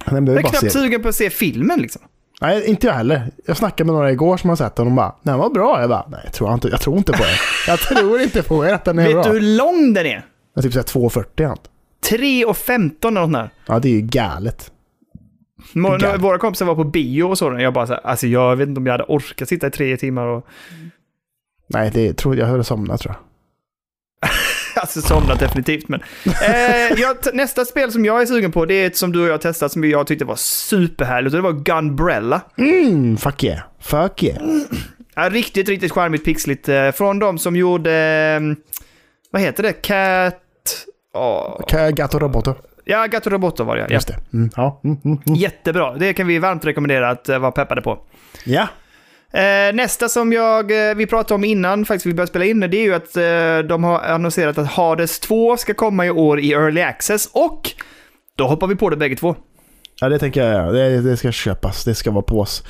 A: Nej, men det är
B: Jag är
A: bara
B: knappt
A: serier.
B: sugen på att se filmen liksom.
A: Nej, inte jag heller. Jag snackade med några igår som har sett den och de bara, den var bra. Jag bara, nej, jag tror inte, jag tror inte på er. Jag tror inte på er att den är
B: vet
A: bra.
B: du hur lång den är?
A: Jag typ såhär 2,40 allt.
B: 3.15 eller något där.
A: Ja, det är ju galet.
B: Må-
A: Galet.
B: när Våra kompisar var på bio och sådant. Jag bara så här, alltså jag vet inte om jag hade orkat sitta i tre timmar och
A: Nej, det tror jag höll somna tror jag.
B: alltså somnat definitivt. Men. Eh, jag, t- nästa spel som jag är sugen på det är ett som du och jag har testat som jag tyckte var superhärligt och det var Gunbrella.
A: Mm, fuck yeah. Fuck yeah.
B: Ja, riktigt, riktigt charmigt, pixligt. eh, Från de som gjorde, eh, vad heter det, Cat... ja
A: Ka- Gato Roboto.
B: Ja, Gato Roboto var det ja.
A: Just det. Mm, ja. Mm, mm, mm.
B: Jättebra, det kan vi varmt rekommendera att eh, vara peppade på.
A: ja.
B: Eh, nästa som jag, eh, vi pratade om innan, faktiskt vi började spela in det, det är ju att eh, de har annonserat att Hades 2 ska komma i år i Early Access och då hoppar vi på det bägge två.
A: Ja, det tänker jag göra. Det, det ska köpas. Det ska vara pås.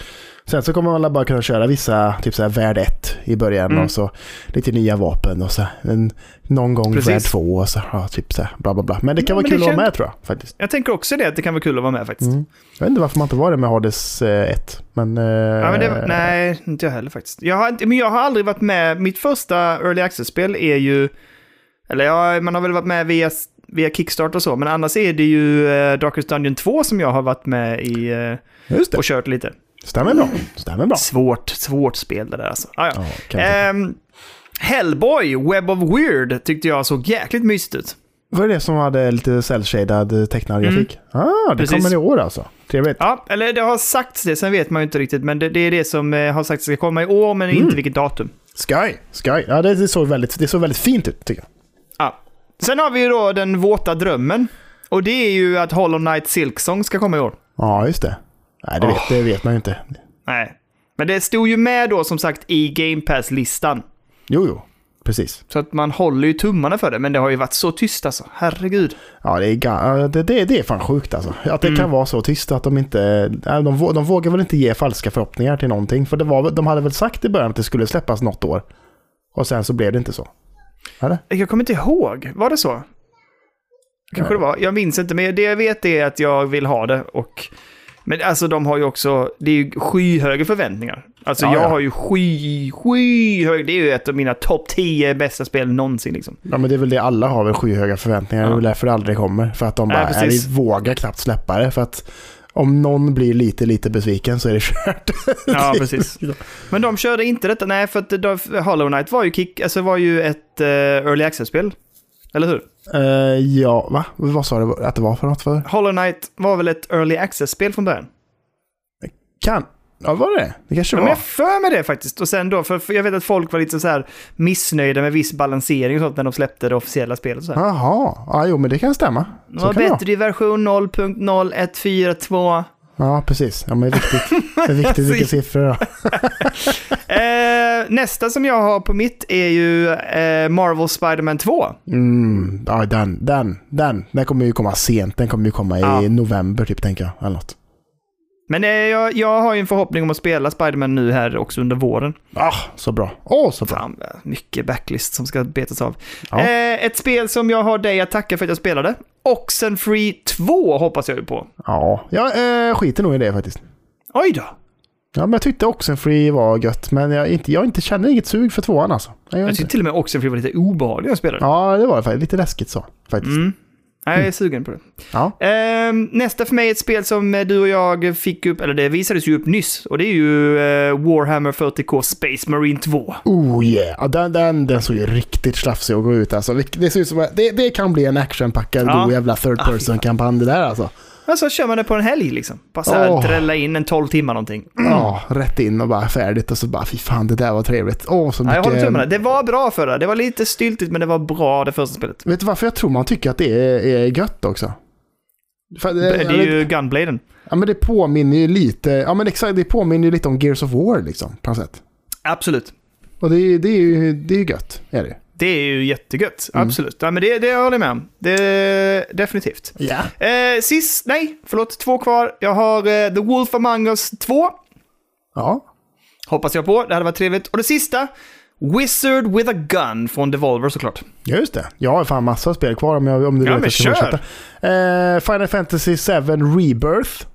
A: Sen så kommer man alla bara kunna köra vissa, typ såhär värld 1 i början
B: Mm.
A: och så lite nya vapen och så en, någon gång
B: Precis.
A: värld 2 och så, ja, typ såhär bla bla bla. Men det kan
B: Ja,
A: vara
B: men
A: kul
B: det
A: att vara
B: kän-
A: med tror jag faktiskt.
B: Jag tänker också det, att det kan vara kul att vara med faktiskt.
A: Mm. Jag vet inte varför man inte var det med Hades 1, men... eh,
B: Ja, men det, nej, inte jag heller faktiskt. Jag har, inte- men jag har aldrig varit med, mitt första Early Access-spel är ju, eller ja, man har väl varit med via, via Kickstarter och så, men annars är det ju eh, Darkest Dungeon 2 som jag har varit med i eh,
A: Just det.
B: och kört lite.
A: Stämmer bra. Stämmer bra.
B: Svårt, svårt spel det där alltså. Ah, ja.
A: Ja, kan jag tänka.
B: Ehm, Hellboy, Web of Weird, tyckte jag såg jäkligt mysigt ut.
A: Var det det som hade lite cell-shaded tecknad
B: Mm.
A: grafik? Ah, det
B: Precis.
A: kommer i år alltså. Trevligt.
B: Ja, eller det har sagts det, sen vet man ju inte riktigt, men det, det är det som eh, har sagts ska komma i år, men
A: Mm.
B: inte vilket datum.
A: Sky. Sky. Ja, det, det, såg väldigt, det såg väldigt fint ut tycker jag.
B: Ja. Sen har vi ju då den våta drömmen, och det är ju att Hollow Knight Silksong ska komma i år.
A: Ja, just det. Nej, det,
B: Åh.
A: vet, det vet man ju inte.
B: Nej. Men det stod ju med då som sagt i Game Pass-listan.
A: Jo, jo. Precis.
B: Så att man håller ju tummarna för det, men det har ju varit så tyst alltså. Herregud.
A: Ja, det är, ga- ja, det, det, det är fan sjukt alltså. Att det
B: Mm.
A: kan vara så tyst att de inte... nej, De, vå- de vågar väl inte ge falska förhoppningar till någonting. För det var, väl- de hade väl sagt i början att det skulle släppas något år. Och sen så blev det inte så. Eller?
B: Jag kommer inte ihåg, var det så? Kanske det var, jag minns inte, men det jag vet är att jag vill ha det och... Men alltså de har ju också, det är ju skyhöga förväntningar. Alltså
A: Ja,
B: jag
A: ja.
B: har ju sky, skyhöga, det är ju ett av mina topp 10 bästa spel någonsin liksom.
A: Ja men det är väl det alla har väl skyhöga förväntningar. Det är väl därför det aldrig kommer. För att de
B: Nej,
A: bara, nej,
B: precis.
A: vi vågar knappt släppa det. För att om någon blir lite, lite besviken så är det kört.
B: Ja, precis. Men de körde inte detta, nej för att de, Hollow Knight var ju kick, alltså var ju ett eh, early access-spel. Eller hur?
A: Eh, ja, va? Vad sa du att det var för något? För?
B: Hollow Knight var väl ett early access-spel från början?
A: Kan, Ja, var det det? kanske
B: Ja,
A: var.
B: men jag för mig det faktiskt. Och sen då, för, för jag vet att folk var lite så här missnöjda med viss balansering och sånt när de släppte det officiella spelet. Så här.
A: Jaha, ja, jo men det kan stämma.
B: Det
A: Så
B: var
A: kan det vara.
B: bättre i version 0.0142.
A: Ja, precis. Ja, men det är viktigt. Det är viktigt vilka siffror. Då.
B: Eh, nästa som jag har på mitt är ju eh, Marvel Spider-Man 2.
A: Mm, ja, den, den, den. Den kommer ju komma sent. Den kommer ju komma
B: Ja.
A: i november typ, tänker jag. Eller något.
B: Men eh, jag, jag har ju en förhoppning om att spela Spider-Man nu här också under våren.
A: Ah, så bra. Åh, så bra.
B: Fan, mycket backlist som ska betas av.
A: Ja.
B: Eh, ett spel som jag har dig att tacka för att jag spelade. Oxenfree 2 hoppas jag ju på.
A: Ja, jag eh, skiter nog i det faktiskt.
B: Oj då!
A: Ja, men jag tyckte Oxenfree var gött, men jag, inte, jag inte känner inget sug för tvåan alltså. Jag gör
B: Jag
A: inte.
B: tyckte till och med Oxenfree var lite obehaglig när jag spelade.
A: Ja, det var det faktiskt. Lite läskigt så, faktiskt.
B: Mm. Nej, jag är sugen på det.
A: Ja.
B: Ehm, nästa för mig är ett spel som eh, du och jag fick upp, eller det visades ju upp nyss, och det är ju eh, Warhammer 40K Space Marine 2.
A: Oh yeah! Ja, den, den, den såg ju riktigt slafsig och gå ut alltså. Vilk- Det ser ut som att det, det kan bli en actionpackad
B: Ja.
A: god jävla third
B: Ah, fy
A: person-kampanj det där alltså.
B: Alltså kör man det på en helg liksom. Bara så här,
A: Åh.
B: drälla in en 12 timmar någonting.
A: Ja, rätt in och bara färdigt och så bara fy fan det där var trevligt. Åh, så
B: Ja, jag
A: mycket...
B: håller tummarna. Det var bra för det. Det var lite styltigt, men det var bra det första spelet.
A: Vet du varför jag tror man tycker att det är, är gött också? För
B: Det
A: det,
B: är ju Gunbladen.
A: ja, men det påminner ju lite, ja men exakt, det påminner ju lite om Gears of War liksom på något sätt.
B: Absolut.
A: Och det, är- det är ju det är ju gött, är det ju.
B: Det är ju jättegött.
A: Mm.
B: Absolut. Ja, men det, det håller jag med om. Det, definitivt.
A: Ja.
B: Eh, sist, nej, förlåt, två kvar. Jag har eh, The Wolf Among Us 2.
A: Ja.
B: Hoppas jag på. Det hade varit trevligt. Och det sista, Wizard with a Gun från Devolver såklart.
A: Just det. Jag har fan massa spel kvar om, jag, om du
B: Ja,
A: vill
B: men
A: att jag ska
B: kör.
A: fortsätta. Eh, Final Fantasy 7 Rebirth.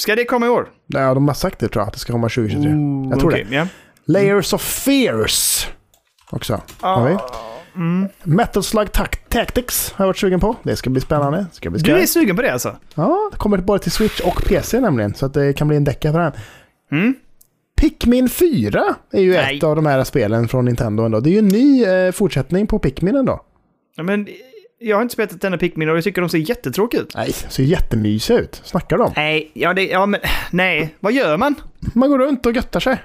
B: Ska det komma i år?
A: Ja, de har sagt det tror jag, att det ska komma 2023. jag tror
B: Okej,
A: det.
B: Ja.
A: Layers of Fears också.
B: Ah.
A: Har vi.
B: Mm.
A: Metal Slug Tac- Tactics har jag varit sugen på. Det ska bli spännande. Det ska bli
B: Du
A: skoj.
B: är sugen på det alltså?
A: Ja, det kommer både till Switch och PC nämligen, så att det kan bli en decka för den.
B: Mm.
A: Pikmin 4 är ju
B: Nej.
A: ett av de här spelen från Nintendo ändå. Det är ju en ny eh, fortsättning på Pikmin ändå.
B: Ja, men eh, jag har inte spelat ett enda Pikmin och jag tycker de ser jättetråkiga ut.
A: Nej, ser jättemysiga ut. Snackar de?
B: Nej, ja, det, ja men nej, vad gör man?
A: Man går runt och göttar sig.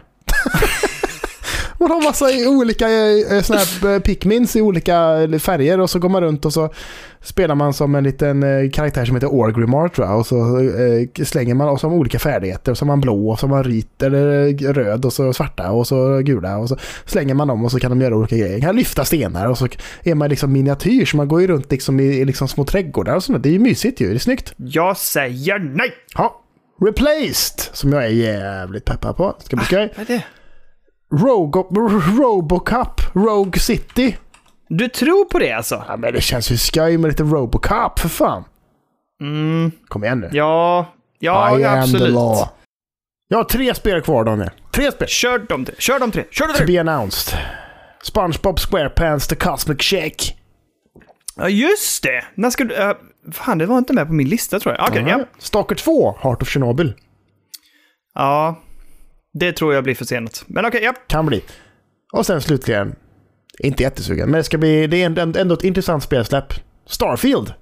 A: man har massa i olika eh, eh, såna här eh, Pikmins i olika eh, färger och så går man runt och så spelar man som en liten eh, karaktär som heter Orgrimmar tror jag. Och så eh, slänger man och så har man olika färdigheter. Och så har man blå och så har man rit eller eh, röd och så svarta och så gula. Och så slänger man dem och så kan de göra olika grejer. Man kan lyfta stenar och så är man liksom miniatyr. Så man går ju runt liksom i, i liksom små trädgårdar och sånt. där. Det är ju mysigt ju. Det är snyggt.
B: Jag säger nej!
A: Ja. Replaced, som jag är jävligt peppad på. Ska bli skoj.
B: Vad är det?
A: Rogo, Robocup, Rogue City.
B: Du tror på det alltså?
A: Ja, men det känns ju skoj med lite Robocup, för fan.
B: Mm,
A: Kom igen nu.
B: ja, ja,
A: I am the
B: absolut.
A: law. Jag har tre spel kvar, Daniel. Tre spel.
B: Kör de tre, kör de tre, kör de
A: To
B: tre!
A: be announced. SpongeBob SquarePants The Cosmic Shake.
B: Ja, just det! När ska du... eh, fan, det var inte med på min lista tror jag. Okej, ja.
A: Mm. Stalker 2, Heart of Chernobyl.
B: Ja, det tror jag blir försenat. Men okej, ja.
A: Kan bli. Och sen slutligen, inte jättesugen, men det ska bli, det är ändå- ändå ett intressant spelsläpp. Starfield.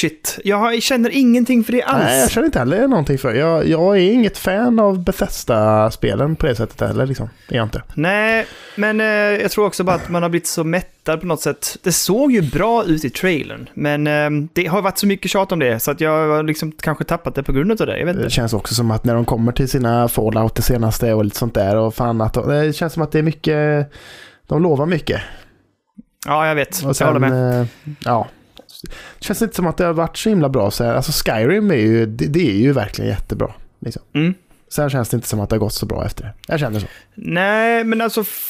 B: Shit, jag har- jag känner ingenting för det alls.
A: Nej, jag känner inte heller någonting för. Jag, jag är inget fan av Bethesda-spelen på det sättet heller. Liksom. Det är jag inte.
B: Nej, men eh, jag tror också bara att man har blivit så mättad på något sätt. Det såg ju bra ut i trailern, men eh, det har varit så mycket tjat om det så att jag har liksom kanske tappat det på grund av det. Jag vet
A: Det
B: inte.
A: känns också som att när de kommer till sina Fallout det senaste och lite sånt där. Och fan att de, det känns som att det är mycket... De lovar mycket.
B: Ja, jag vet.
A: Och
B: jag håller med.
A: eh, Ja. Det känns inte som att det har varit så himla bra. Så här. Alltså Skyrim är ju, det, det är ju verkligen jättebra. Liksom.
B: Mm.
A: Sen känns det inte som att det har gått så bra efter det. Jag känner så.
B: Nej, men alltså... f-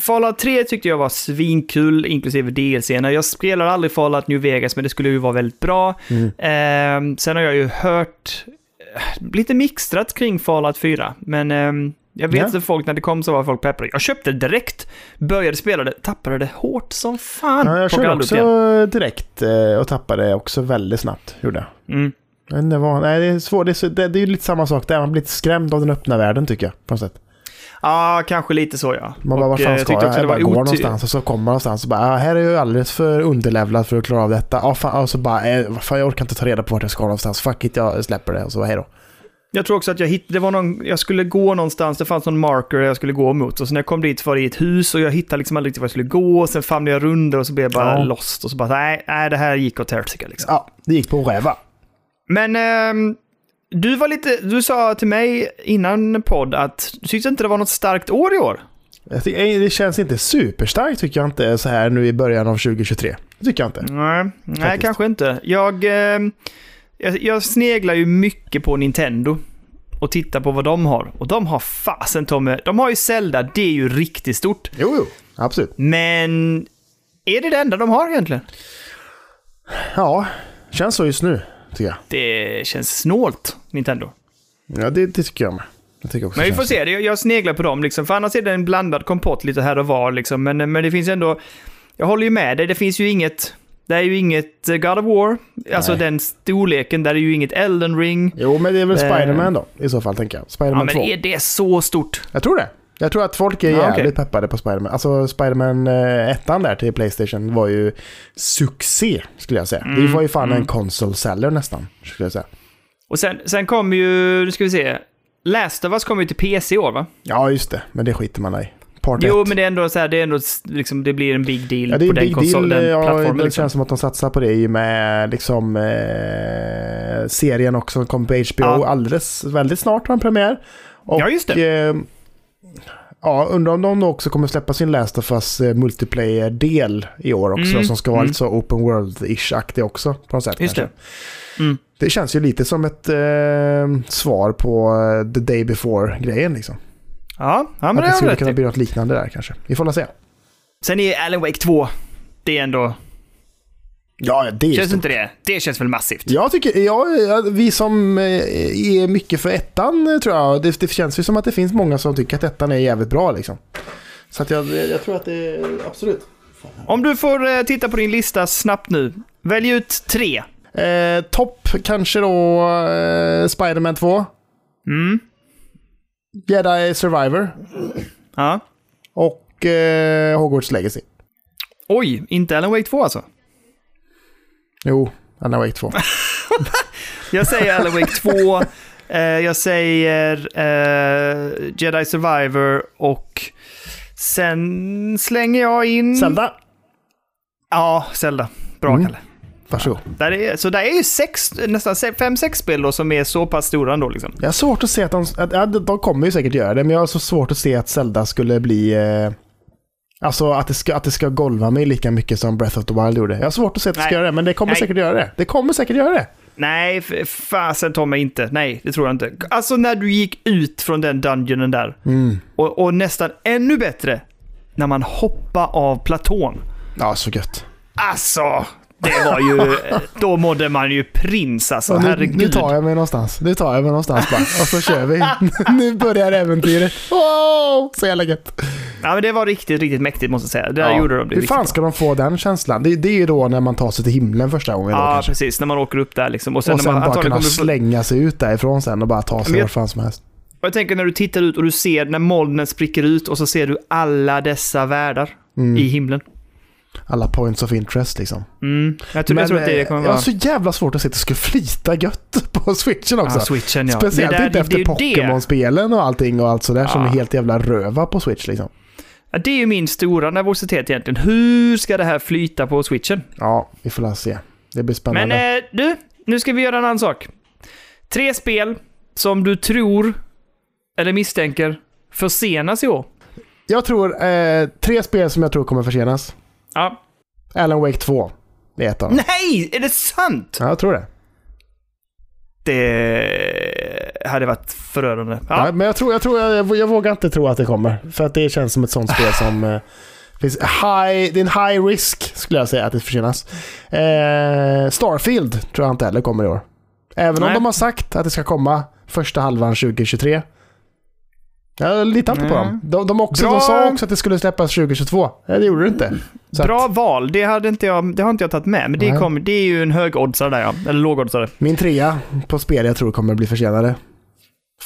B: Fallout 3 tyckte jag var svinkul, inklusive DLC. Jag spelar aldrig Fallout New Vegas, men det skulle ju vara väldigt bra.
A: Mm.
B: Ehm, sen har jag ju hört eh, lite mixtrat kring Fallout 4, men ehm, jag vet
A: Ja.
B: att folk, när det kom så var folk peppade. Jag köpte det direkt, började spela det, tappade det hårt som fan.
A: Ja, jag
B: Plockade
A: körde
B: aldrig upp igen.
A: också direkt eh, och tappade också väldigt snabbt. Gjorde jag.
B: Mm.
A: Men det, var, nej, det är svårt. Det är, så- det, det är ju lite samma sak där. Man blir lite skrämd av den öppna världen tycker jag. På något sätt.
B: Ja, kanske lite så ja.
A: Man bara,
B: Och,
A: vart
B: eh,
A: fan ska jag?
B: tyckte också
A: Jag
B: det
A: bara
B: var
A: går
B: oty-
A: någonstans och så kommer man någonstans och bara, ah, här är jag ju alldeles för underlevlad för att klara av detta. Ah, fan, och så bara, eh, vad fan, jag orkar inte ta reda på vart jag ska någonstans. Fuck it, jag släpper det. Och så hej då.
B: Jag tror också att jag hittade, det var någon, jag skulle gå någonstans, det fanns någon marker jag skulle gå mot. Och så när jag kom dit var det i ett hus och jag hittade liksom aldrig riktigt var jag skulle gå. Och sen famlade jag runder och så blev jag bara
A: Ja.
B: lost. Och så bara, nej, nej det här gick åt helsike liksom.
A: Ja, det gick på att räva.
B: Men ehm, du var lite, du sa till mig innan podd att du tyckte inte det var något starkt år i år.
A: Jag tycker- eh, Det känns inte superstarkt tycker jag inte så här nu i början av 2023. Det tycker jag inte.
B: Nej, nej kanske inte. Jag, ehm, jag, jag sneglar ju mycket på Nintendo och tittar på vad de har. Och de har fasen Tommy, de har ju Zelda, det är ju riktigt stort.
A: Jo, jo. Absolut.
B: Men är det det enda de har egentligen?
A: Ja, känns så just nu tycker jag.
B: Det känns snålt, Nintendo.
A: Ja, det, det tycker jag med. Jag tycker också
B: Men vi
A: det
B: får
A: känns-
B: se, det- jag sneglar på dem liksom. För annars är det en blandad kompott lite här och var liksom. Men, men det finns ändå... Jag håller ju med dig, det finns ju inget... Det är ju inget eh, God of War, alltså
A: Nej.
B: den storleken. Där är ju inget Elden Ring.
A: Jo, men det är väl
B: Eh.
A: Spiderman då i så fall tänker jag.
B: Ja,
A: Spiderman
B: men
A: 2.
B: är det så stort?
A: Jag tror det. Jag tror att folk är
B: Ja,
A: jävligt
B: okej.
A: peppade på Spiderman. Alltså Spiderman 1 där till Playstation var ju succé skulle jag säga.
B: Mm,
A: det var ju fan en console seller nästan. Skulle jag säga.
B: Och sen, sen kommer ju, nu ska vi se. Last of Us kommer ju till PC i år va?
A: Ja, just det. Men det skiter man i. Part
B: Jo,
A: ett.
B: men det är ändå så här, det är ändå s- liksom, det blir en big deal
A: Ja, det är
B: på
A: en
B: den
A: big
B: konsolen,
A: deal. eh,
B: den
A: Ja,
B: plattformen.
A: det
B: liksom.
A: känns som att de satsar på det i och med liksom, eh, serien också som kom på HBO
B: Ja.
A: alldeles väldigt snart har en premiär. Och,
B: Ja, just
A: Eh, ja, undrar om de då också kommer släppa sin Last of Us eh, multiplayer-del i år också.
B: Mm,
A: Som ska vara
B: mm.
A: lite så open world-ish-aktig också på något sätt.
B: Just
A: kanske.
B: det. Mm.
A: det känns ju lite som ett eh, svar på eh, the day before-grejen. Liksom.
B: Ja, ja men
A: att det
B: det har du
A: skulle
B: rätt
A: kunna
B: i.
A: bli något liknande där kanske. Vi får väl se.
B: Sen är Alan Wake 2, det är ändå...
A: Ja, det är
B: Känns inte det? Det känns väl massivt?
A: Jag tycker, ja, ja, vi som eh, är mycket för ettan eh, tror jag, det, det känns ju som att det finns många som tycker att ettan är jävligt bra liksom. Så att jag, eh, jag tror att det är, absolut.
B: Om du får eh, titta på din lista snabbt nu. Välj ut tre.
A: Eh, Topp kanske då eh, Spiderman 2,
B: Mm.
A: Jedi Survivor
B: Ja.
A: och eh, Hogwarts Legacy.
B: Oj, inte Alan Wake 2 alltså?
A: Jo, Anna Wake 2.
B: Jag säger Alan Wake 2, eh, jag säger eh, Jedi Survivor och sen slänger jag in...
A: Zelda,
B: Ja, Zelda. Bra
A: Mm.
B: Kalle.
A: varsågod.
B: Där är, så där är ju sex, nästan se- fem, sex spel då som är så pass stora ändå liksom.
A: Jag har svårt att se att de, att, ja, de kommer ju säkert göra det, men jag har så svårt att se att Zelda skulle bli... Eh, alltså att det, ska, att det ska golva mig lika mycket som Breath of the Wild gjorde. Jag har svårt att se att det
B: Nej.
A: ska göra det, men det kommer
B: Nej.
A: säkert göra det. Det kommer säkert göra det.
B: Nej, f- fasen Tommy inte. Nej, det tror jag inte. Alltså när du gick ut från den dungeonen där.
A: Mm.
B: Och, och nästan ännu bättre, när man hoppar av platån.
A: Ja, så gött.
B: Alltså, det var ju... då mådde man ju prins alltså,
A: Och nu,
B: herregud.
A: nu tar jag mig någonstans. Nu tar jag mig någonstans bara. Och så kör vi. nu börjar äventyret. Wow! Så jävla gött.
B: Ja, men det var riktigt, riktigt mäktigt måste jag säga. Där
A: Ja.
B: gjorde de det
A: Hur fan
B: riktigt
A: ska de få den känslan? Det, det är ju då när man tar sig till himlen första gången.
B: bra.
A: då,
B: Ja,
A: kanske.
B: precis. När man åker upp där liksom. Och sen,
A: Och sen
B: när man,
A: bara
B: antagligen
A: kunna
B: kommer upp-
A: slänga sig ut därifrån sen och bara ta sig
B: Men jag-
A: vart fan som helst.
B: Och jag tänker när du tittar ut och du ser när molnen spricker ut och så ser du alla dessa världar
A: Mm.
B: i himlen.
A: Alla points of interest liksom.
B: Mm. Jag, tror, jag tror att det
A: eh,
B: kommer
A: jag
B: vara...
A: har så jävla svårt att se att det skulle flyta gött på switchen också.
B: Ja, switchen ja.
A: Speciellt
B: Det där-
A: inte efter
B: det är ju det.
A: Pokémon-spelen och allting och allt sådär som
B: Ja.
A: är helt jävla röva på switch liksom.
B: Ja, det är ju min stora nervositet egentligen. Hur ska det här flyta på switchen?
A: Ja, vi får la se. Det blir spännande.
B: Men eh, du, nu ska vi göra en annan sak. Tre spel som du tror, eller misstänker, försenas i år.
A: Jag tror eh, tre spel som jag tror kommer försenas.
B: Ja.
A: Alan Wake 2 är ett av dem.
B: Nej, är det sant?
A: Ja, jag tror det.
B: Det hade varit förödande.
A: Ja.
B: Ja.
A: men jag, tror, jag, tror, jag, jag, vågar inte tro att det kommer. För att det känns som ett sånt spel som... Eh, finns high, det är en high risk skulle jag säga att det försenas. Eh, Starfield tror jag inte heller kommer i år. Även om
B: Nej.
A: de har sagt att det ska komma första halvan 2023. Jag litar inte på
B: Mm.
A: dem. De, de, också,
B: Bra.
A: de sa också att det skulle släppas 2022. Nej, det gjorde det inte. Så
B: Bra
A: att,
B: val, det, hade inte jag, det har inte jag tagit med, men det,
A: Nej.
B: kom, det är ju en högoddsare där ja, eller lågoddsare.
A: min trea på spel jag tror kommer bli försenade.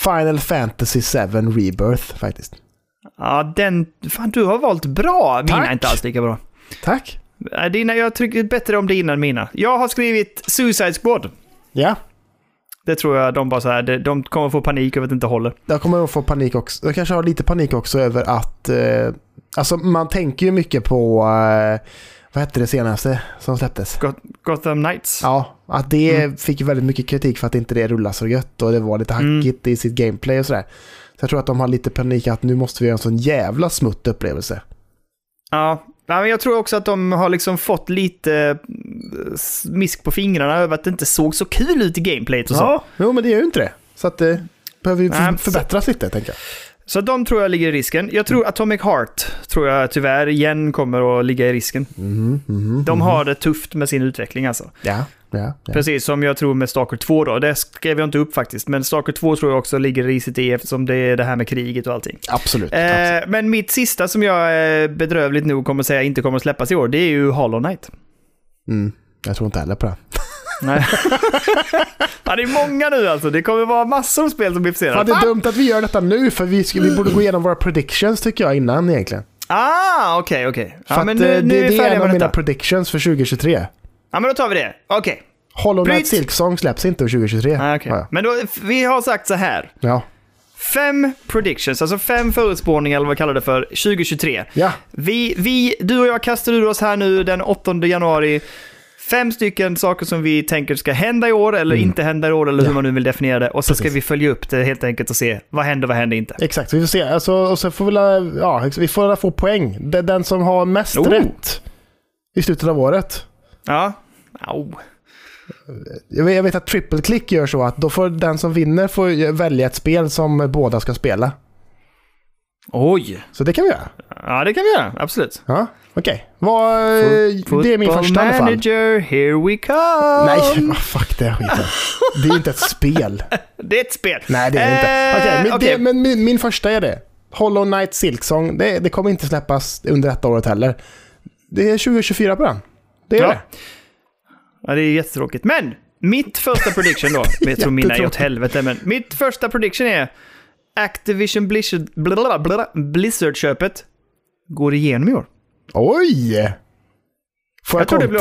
A: Final Fantasy 7 Rebirth faktiskt.
B: Ja, den, fan du har valt bra. Mina
A: Tack.
B: är inte alls lika bra.
A: Tack.
B: Äh, Dina, jag tycker bättre om det innan mina. Jag har skrivit Suicide Squad.
A: Ja,
B: Det tror jag de bara så här, de, de kommer få panik över att det inte håller.
A: Jag kommer att få panik också. Jag kanske har lite panik också över att... Eh, alltså man tänker ju mycket på... Eh, vad hette det senaste som släpptes?
B: Got, Gotham Knights.
A: Ja, att det fick ju väldigt mycket kritik för att inte det rullar så gött och det var lite
B: Mm.
A: hackigt i sitt gameplay och sådär. Så jag tror att de har lite panik att nu måste vi göra en sån jävla smutt upplevelse.
B: Ja. Nej, men jag tror också att de har liksom fått lite eh, smisk på fingrarna över att det inte såg så kul ut i gameplayet och så.
A: Ja, jo men det gör ju inte det. Så att det behöver ju
B: Nej,
A: för- förbättras lite tänker jag.
B: Så de tror jag ligger i risken. Jag
A: Mm.
B: tror Atomic Heart tror jag tyvärr igen kommer att ligga i risken.
A: Mhm, mhm,
B: De
A: mhm.
B: har det tufft med sin utveckling alltså.
A: Ja, ja, ja.
B: Precis som jag tror med Stalker 2 då. Det skrev jag inte upp faktiskt, men Stalker 2 tror jag också ligger i risigt i eftersom det är det här med kriget och allting.
A: Absolut. absolut.
B: Eh, men mitt sista som jag eh, bedrövligt nog kommer säga inte kommer att släppas i år, det är ju Hollow Knight.
A: Mm. Jag tror inte heller på det.
B: Nej. ja, det är många nu alltså. Det kommer vara massor av spel som blir
A: Fan,
B: försenade.
A: det är dumt att vi gör detta nu för vi, ska, vi borde gå igenom våra predictions tycker jag innan egentligen.
B: Ah, okej, okej.
A: För
B: Ja, men
A: att,
B: nu,
A: eh,
B: nu
A: det,
B: är
A: det
B: vi
A: är en
B: färdiga
A: av
B: med
A: mina
B: detta.
A: predictions för 2023.
B: Ja, men då tar vi det. Okej.
A: Hollow Knight
B: Bryt!
A: Silksong släpps inte år 2023.
B: Ah, okej.
A: har jag.
B: Men då, vi har sagt så här.
A: Ja.
B: Fem predictions, alltså fem förutspåningar eller vad vi kallar det för, 2023.
A: ja,
B: Vi, vi, du och jag kastar ur oss här nu den 8 januari fem stycken saker som vi tänker ska hända i år eller inte hända i år eller
A: Mm.
B: hur
A: Ja.
B: man nu vill definiera det. Och så ska
A: Precis.
B: vi följa upp det helt enkelt och se vad händer vad händer inte.
A: exakt. Vi får se. Alltså, och sen får vi, la- ja, ex- vi får la få poäng. Det är den som har mest
B: Oh.
A: rätt i slutet av året.
B: Ja. Au.
A: Jag vet, jag vet att triple click gör så att då får den som vinner får ju välja ett spel som båda ska spela.
B: Oj.
A: Så det kan vi göra.
B: Ja, det kan vi göra. Absolut.
A: Ja, okej. Vad, eh, det är min
B: Football
A: första i alla fall.
B: manager, here we come!
A: Nej, vad fuck det skiten. Det är ju inte ett spel.
B: Det är ett spel.
A: Nej, det är det inte.
B: Eh,
A: Okej, men,
B: okej.
A: det, men min, min första är det. Hollow Knight Silksong. Det, det kommer inte släppas under detta året heller. Det är 2024 på den. Det är
B: Ja.
A: det.
B: Ja, det är jättetråkigt. Men mitt första prediction då. jag tror mina är åt
A: Jättetråkigt.
B: helvete, men mitt första prediction är Activision Blizzard- blablabla, blablabla, Blizzard-köpet går igenom i år.
A: Oj! Får
B: Jag tror det
A: kont-
B: blir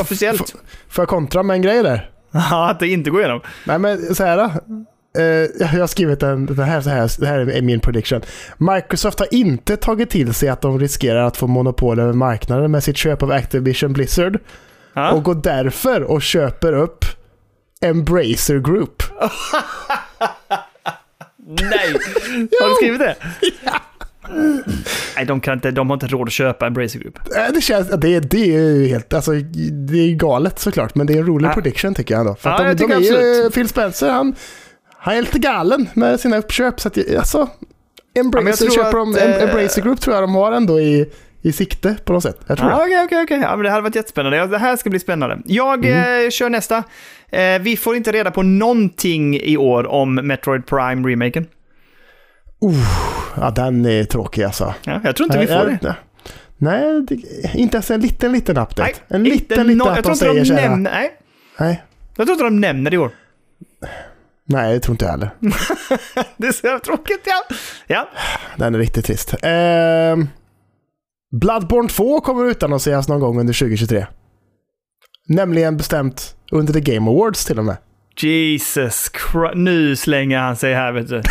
B: officiellt.
A: Får, får jag kontra med en grej där?
B: Ja, att det inte går igenom.
A: Nej, men så här. då. Eh, jag jag har skrivit en, det, här, så här, det här är min prediction. Microsoft har inte tagit till sig att de riskerar att få monopol över marknaden med sitt köp av Activision Blizzard
B: Ja.
A: och går därför och köper upp Embracer Group.
B: Nej! Har du skrivit det? Nej, de, kan inte, de har inte råd att köpa en Bracer Group.
A: Äh, Det känns, det, är- det är ju helt, alltså det är galet såklart, men det är en rolig
B: Ja.
A: prediction tycker jag ändå. För att
B: Ah. Ja,
A: de,
B: jag tycker
A: de är ju, eh,
B: absolut.
A: Phil Spencer, han, han är lite galen med sina uppköp. Så att, jag- alltså, Embracer,
B: tror
A: köper
B: att,
A: de,
B: eh,
A: Em- Embracer Group tror jag de har ändå i, i sikte på något sätt. Jag tror
B: Ja,
A: det.
B: Ah, Okej, okej, okej. Ja, men Det här hade varit jättespännande. Ja, Det här ska bli spännande. Jag
A: Mm.
B: eh, kör nästa. Eh, vi får inte reda på någonting i år om Metroid Prime-remaken.
A: Ja, den är tråkig alltså.
B: Ja, jag tror inte vi
A: Jag-
B: får
A: jag
B: det.
A: vet inte. Nej, det, inte ens en liten, liten update. en
B: inte
A: liten, liten
B: nå-
A: att
B: jag tror
A: de
B: inte
A: säger
B: de
A: så här.
B: nämner, nej,
A: Nej,
B: jag tror inte de nämner det i år.
A: nej, det tror inte jag heller.
B: Det är så jävla tråkigt. Ja. Ja.
A: Den är riktigt trist. Ehm, Bloodborne 2 kommer utannonseras någon gång under 2023. Nämligen bestämt under The Game Awards till och med.
B: Jesus Christ. Nu slänger han sig här, vet du.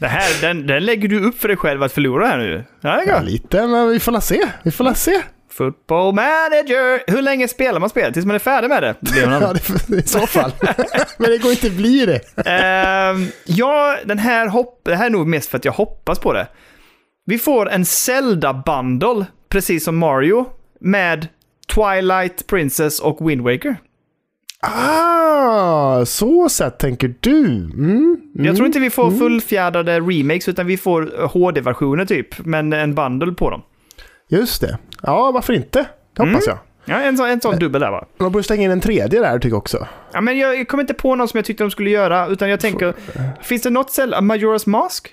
B: Det här, den, den lägger du upp för dig själv att förlora här nu. Ja, det
A: Ja,
B: är gott.
A: lite, men vi får la se. Vi får la se.
B: Football manager! Hur länge spelar man spelet? Tills man är färdig med det?
A: Ja,
B: Leonard.
A: det, I så fall. men det går inte att bli det.
B: Ehm, ja, den här hopp, det här är nog mest för att jag hoppas på det. Vi får en Zelda-bundle, precis som Mario, med Twilight Princess och Wind Waker.
A: Ah, så sett tänker du. Mm, mm.
B: Jag tror inte vi får fullfjädrade remakes, utan vi får HD-versioner typ, men en bundle på dem.
A: Just det. Ja, varför inte? Det hoppas jag.
B: Ja, en, sån- en sån dubbel där va?
A: De borde stänga in en tredje där tycker jag också.
B: Ja, men jag, jag kommer inte på någon som jag tyckte de skulle göra, utan jag tänker, finns det något Zelda? Majora's Mask?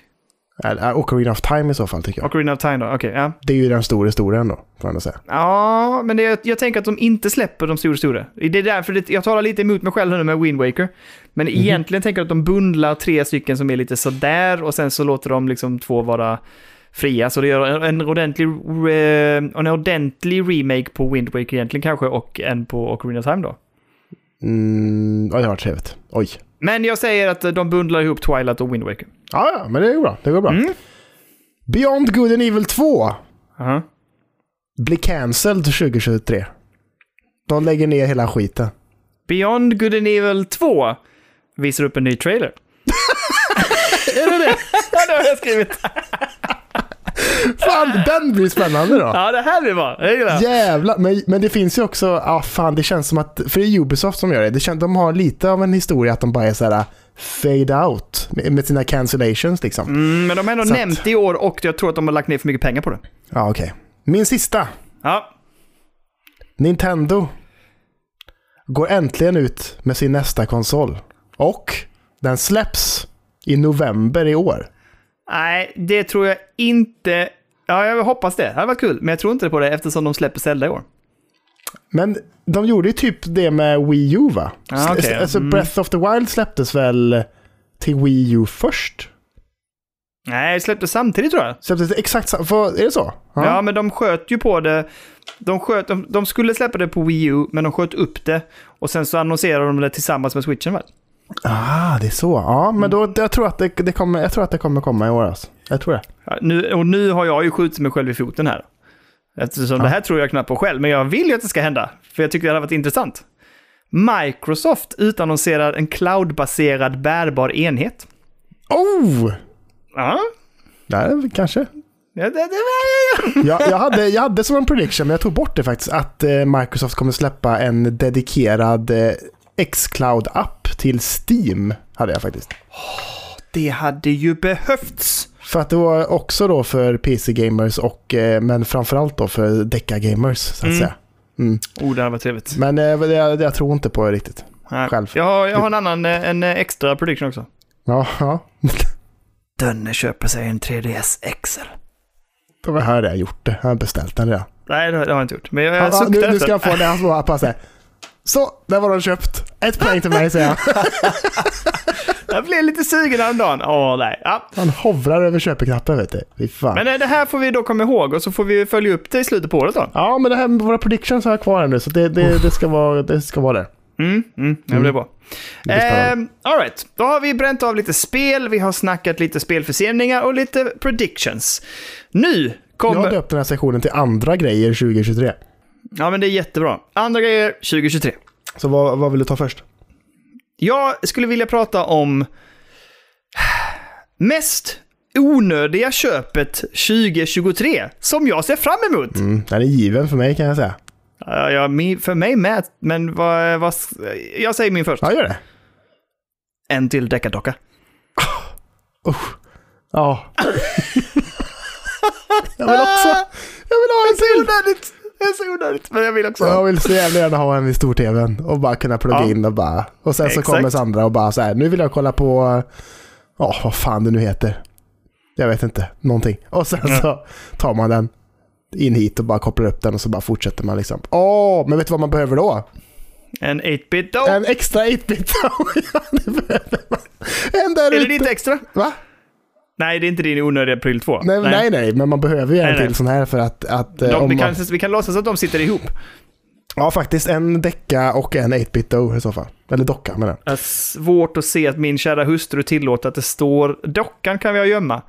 A: Eller, äh, Ocarina of Time i så fall tycker jag.
B: Och Ocarina of Time då? Okej, ja.
A: Det är ju den stora historien då, får man ändå säga.
B: Ja, men det, jag, jag tänker att de inte släpper de stora stora. Det är därför det, jag talar lite emot mig själv nu med Wind Waker. Men egentligen tänker jag att de bundlar tre stycken som är lite sådär och sen så låter de liksom två vara fria. Så det gör en, en, ordentlig, re- en ordentlig remake på Wind Waker egentligen kanske och en på Ocarina of Time då.
A: Mm, ja, det var trevligt. Oj.
B: Men jag säger att de bundlar ihop Twilight och Wind Waker.
A: Ja, ja, men det går bra. Det går bra.
B: Mm.
A: Beyond Good and Evil 2
B: Aha.
A: blir cancelled 2023. De lägger ner hela skiten.
B: Beyond Good and Evil 2 visar upp en ny trailer.
A: Är det det?
B: Ja, det har jag skrivit.
A: Fan, den blir spännande då.
B: Ja, det här blir bra. Jag gillar det.
A: Jävlar, men, men det finns ju också, ah, fan det känns som att, för det är Ubisoft som gör det, det känns, de har lite av en historia att de bara är såhär fade out med, med sina cancellations liksom.
B: Mm, men de har ändå
A: Så att-
B: nämnt det i år och jag tror att de har lagt ner för mycket pengar på det.
A: Ja okej. Min sista,
B: Ja,
A: Nintendo går äntligen ut med sin nästa konsol. Och den släpps i november i år.
B: nej, det tror jag inte. Ja, jag hoppas det. Det hade varit kul, men jag tror inte på det eftersom de släpper Zelda i år.
A: Men de gjorde ju typ det med Wii U va?
B: Ah, okej.
A: S- Alltså
B: Mm.
A: Breath of the Wild släpptes väl till Wii U först?
B: Nej, det släpptes samtidigt tror jag.
A: Släpptes det exakt samma? för- Är det så?
B: Ja. men de sköt ju på det. De, sköt, de, de skulle släppa det på Wii U, men de sköt upp det. Och sen så annonserade de det tillsammans med Switchen, väl?
A: Ah, det är så. Ja, men
B: Mm.
A: då, jag, tror att det, det kommer, jag tror att det kommer komma i år. Alltså. Jag tror det.
B: Ja, nu, och nu har jag ju skjutit mig själv i foten här. Eftersom det här tror jag knappt på själv, men jag vill ju att det ska hända. För jag tycker det hade varit intressant. Microsoft utannonserar en cloudbaserad bärbar enhet.
A: Oh!
B: Ja,
A: Där, kanske.
B: det, det, det,
A: Jag, jag, hade, jag hade som en prediction, men jag tog bort det faktiskt, att eh, Microsoft kommer släppa en dedikerad eh, Xcloud-app till Steam. Hade jag faktiskt.
B: det hade ju behövts.
A: För att det var också då för PC-gamers, och, eh, men framförallt då för deckargamers. Så att
B: Mm.
A: säga. Mm.
B: Oh, det hade varit trevligt.
A: Men eh, det, jag, jag tror inte på det riktigt.
B: Ja.
A: Själv.
B: Jag, har- jag har en annan, eh, en eh, extra prediction också.
A: Ja, ja.
B: Dönne köper sig en 3DS XL.
A: Det var här jag har gjort det. Jag har beställt den redan.
B: Nej, det har det har jag inte gjort. Men jag,
A: Ja,
B: jag
A: ja,
B: suktar
A: nu, nu
B: efter.
A: ska jag få det här små appen här. Så, där var de köpt. Ett poäng till mig säger jag.
B: Jag blev lite sugen häromdagen. Åh, nej. Ja.
A: Han hovrar över köpeknappen vet du. Fy fan.
B: Men eh, det här får vi då komma ihåg och så får vi följa upp det i slutet på året då.
A: Ja, men det här med våra predictions har jag kvar här nu, så det, det, det, ska, vara, det ska vara där.
B: Mm, mm, det blir bra.
A: blir
B: Ehm,
A: spännande.
B: all right. då har vi bränt av lite spel, vi har snackat lite spelförseningar och lite predictions. Nu
A: Jag har
B: kommer...
A: döpt den här sektionen till andra grejer 2023.
B: Ja, men det är jättebra. Andra grejer 2023.
A: Så vad, vad vill du ta först?
B: Jag skulle vilja prata om mest onödiga köpet 2023 som jag ser fram emot.
A: Mm, den är given för mig kan jag säga.
B: Ja, ja, mi- för mig med, men vad, vad, jag säger min först.
A: Ja, gör det.
B: En till deckardocka.
A: Ja. jag vill också. Jag vill ha en till.
B: Onödigt! Det är så onödigt, men jag vill också.
A: Jag vill så jävla gärna ha en vid stor-tvn och bara kunna plugga
B: Ja.
A: in och bara... Och sen så
B: Exakt.
A: kommer Sandra och bara så här, nu vill jag kolla på... Ja, vad fan det nu heter. Jag vet inte, någonting. Och sen så tar man den in hit och bara kopplar upp den och så bara fortsätter man liksom. Åh, men vet du vad man behöver då?
B: En 8-bit då.
A: En extra 8-bit. Ja, det behöver man. en där
B: Är det
A: ute.
B: ditt extra?
A: Va?
B: Nej, det är inte din onödiga pryl 2.
A: Nej, nej, nej, men man behöver ju en
B: Nej, nej.
A: till sån här för att... att eh,
B: De,
A: om
B: vi,
A: man,
B: kan, vi kan låtsas att de sitter ihop.
A: Ja, faktiskt en decka och en 8-bit do i så fall. Eller docka menar jag.
B: Det är Äh, svårt att se att min kära hustru tillåter att det står... Dockan kan vi ha gömma.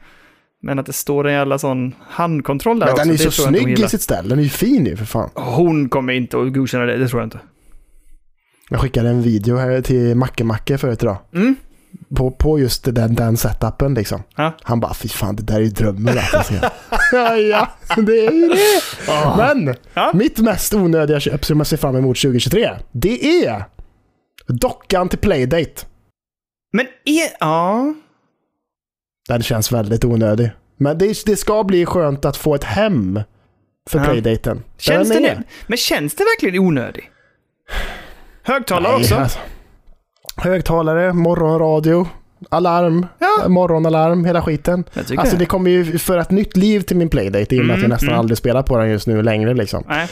B: Men att det står en jävla sån handkontroll där
A: Men
B: också.
A: den är ju
B: det
A: så
B: tror jag inte hon
A: snygg i
B: gillar.
A: sitt ställ. Den är ju fin ju för fan.
B: Hon kommer inte att godkänna det, det tror jag inte.
A: Jag skickade en video här till Macke-Macke förut idag.
B: Mm.
A: På, på just den, den setupen liksom.
B: Ja.
A: Han bara, fy fan det där är ju drömmen. att jag ser." ja, ja, det är ju det. Men
B: Ja.
A: mitt mest onödiga köp som jag ser fram emot 2023, det är dockan till Playdate.
B: Men är... Ja...
A: Den känns väldigt onödig. Men det, det ska bli skönt att få ett hem för
B: Ja.
A: Playdaten.
B: Känns det
A: Den är-
B: nu? Men känns det verkligen onödig? Högtalare
A: Nej,
B: också?
A: alltså. Högtalare, morgonradio, alarm, eh,
B: Ja.
A: morgonalarm, hela skiten.
B: Jag tycker
A: Alltså
B: det.
A: det kommer ju föra ett nytt liv till min Playdate i och med att jag
B: Mm,
A: nästan
B: mm.
A: aldrig spelar på den just nu längre. Liksom.
B: Nej.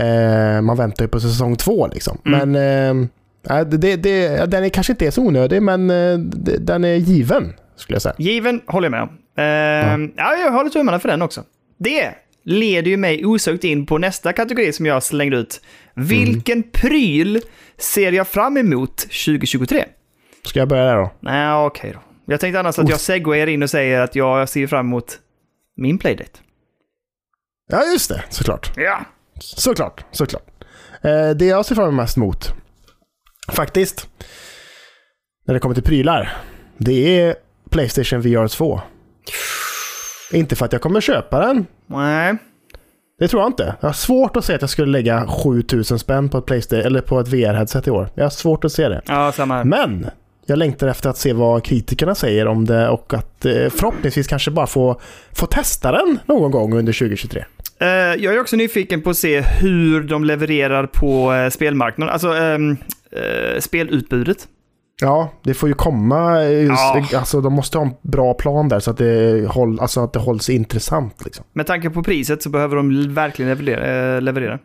A: Eh, man väntar ju på säsong två liksom.
B: Mm.
A: Men eh, ja, det, det, ja, den är kanske inte är så onödig, men eh, d- den är given skulle jag säga.
B: Given håller jag med om. Ehm, ja. jag håller tummarna för den också. Det leder ju mig osökt in på nästa kategori som jag slängde ut. Vilken pryl ser jag fram emot 2023?
A: Ska jag börja där då?
B: Nej, okej då. Jag tänkte annars att jag segwayar in och säger att jag ser fram emot min playdate.
A: Ja, just det. Såklart.
B: Ja.
A: Såklart. Såklart. Eh, det jag ser fram emot mest mot, faktiskt, när det kommer till prylar, det är Playstation VR 2. Inte för att jag kommer köpa den.
B: Nej.
A: Det tror jag inte. Jag har svårt att se att jag skulle lägga 7000 spänn på ett, Playstation, eller på ett VR-headset i år. Jag har svårt att se det.
B: Ja, samma här.
A: Men jag längtar efter att se vad kritikerna säger om det och att eh, förhoppningsvis kanske bara få, få testa den någon gång under 2023.
B: Eh, jag är också nyfiken på att se hur de levererar på eh, spelmarknaden, alltså ehm, eh, spelutbudet.
A: Ja, det får ju komma. eh,
B: Ja.
A: Alltså, de måste ha en bra plan där så att det, håll, alltså, att det hålls intressant. Liksom.
B: Med tanke på priset så behöver de l- verkligen leverera. eh, leverera.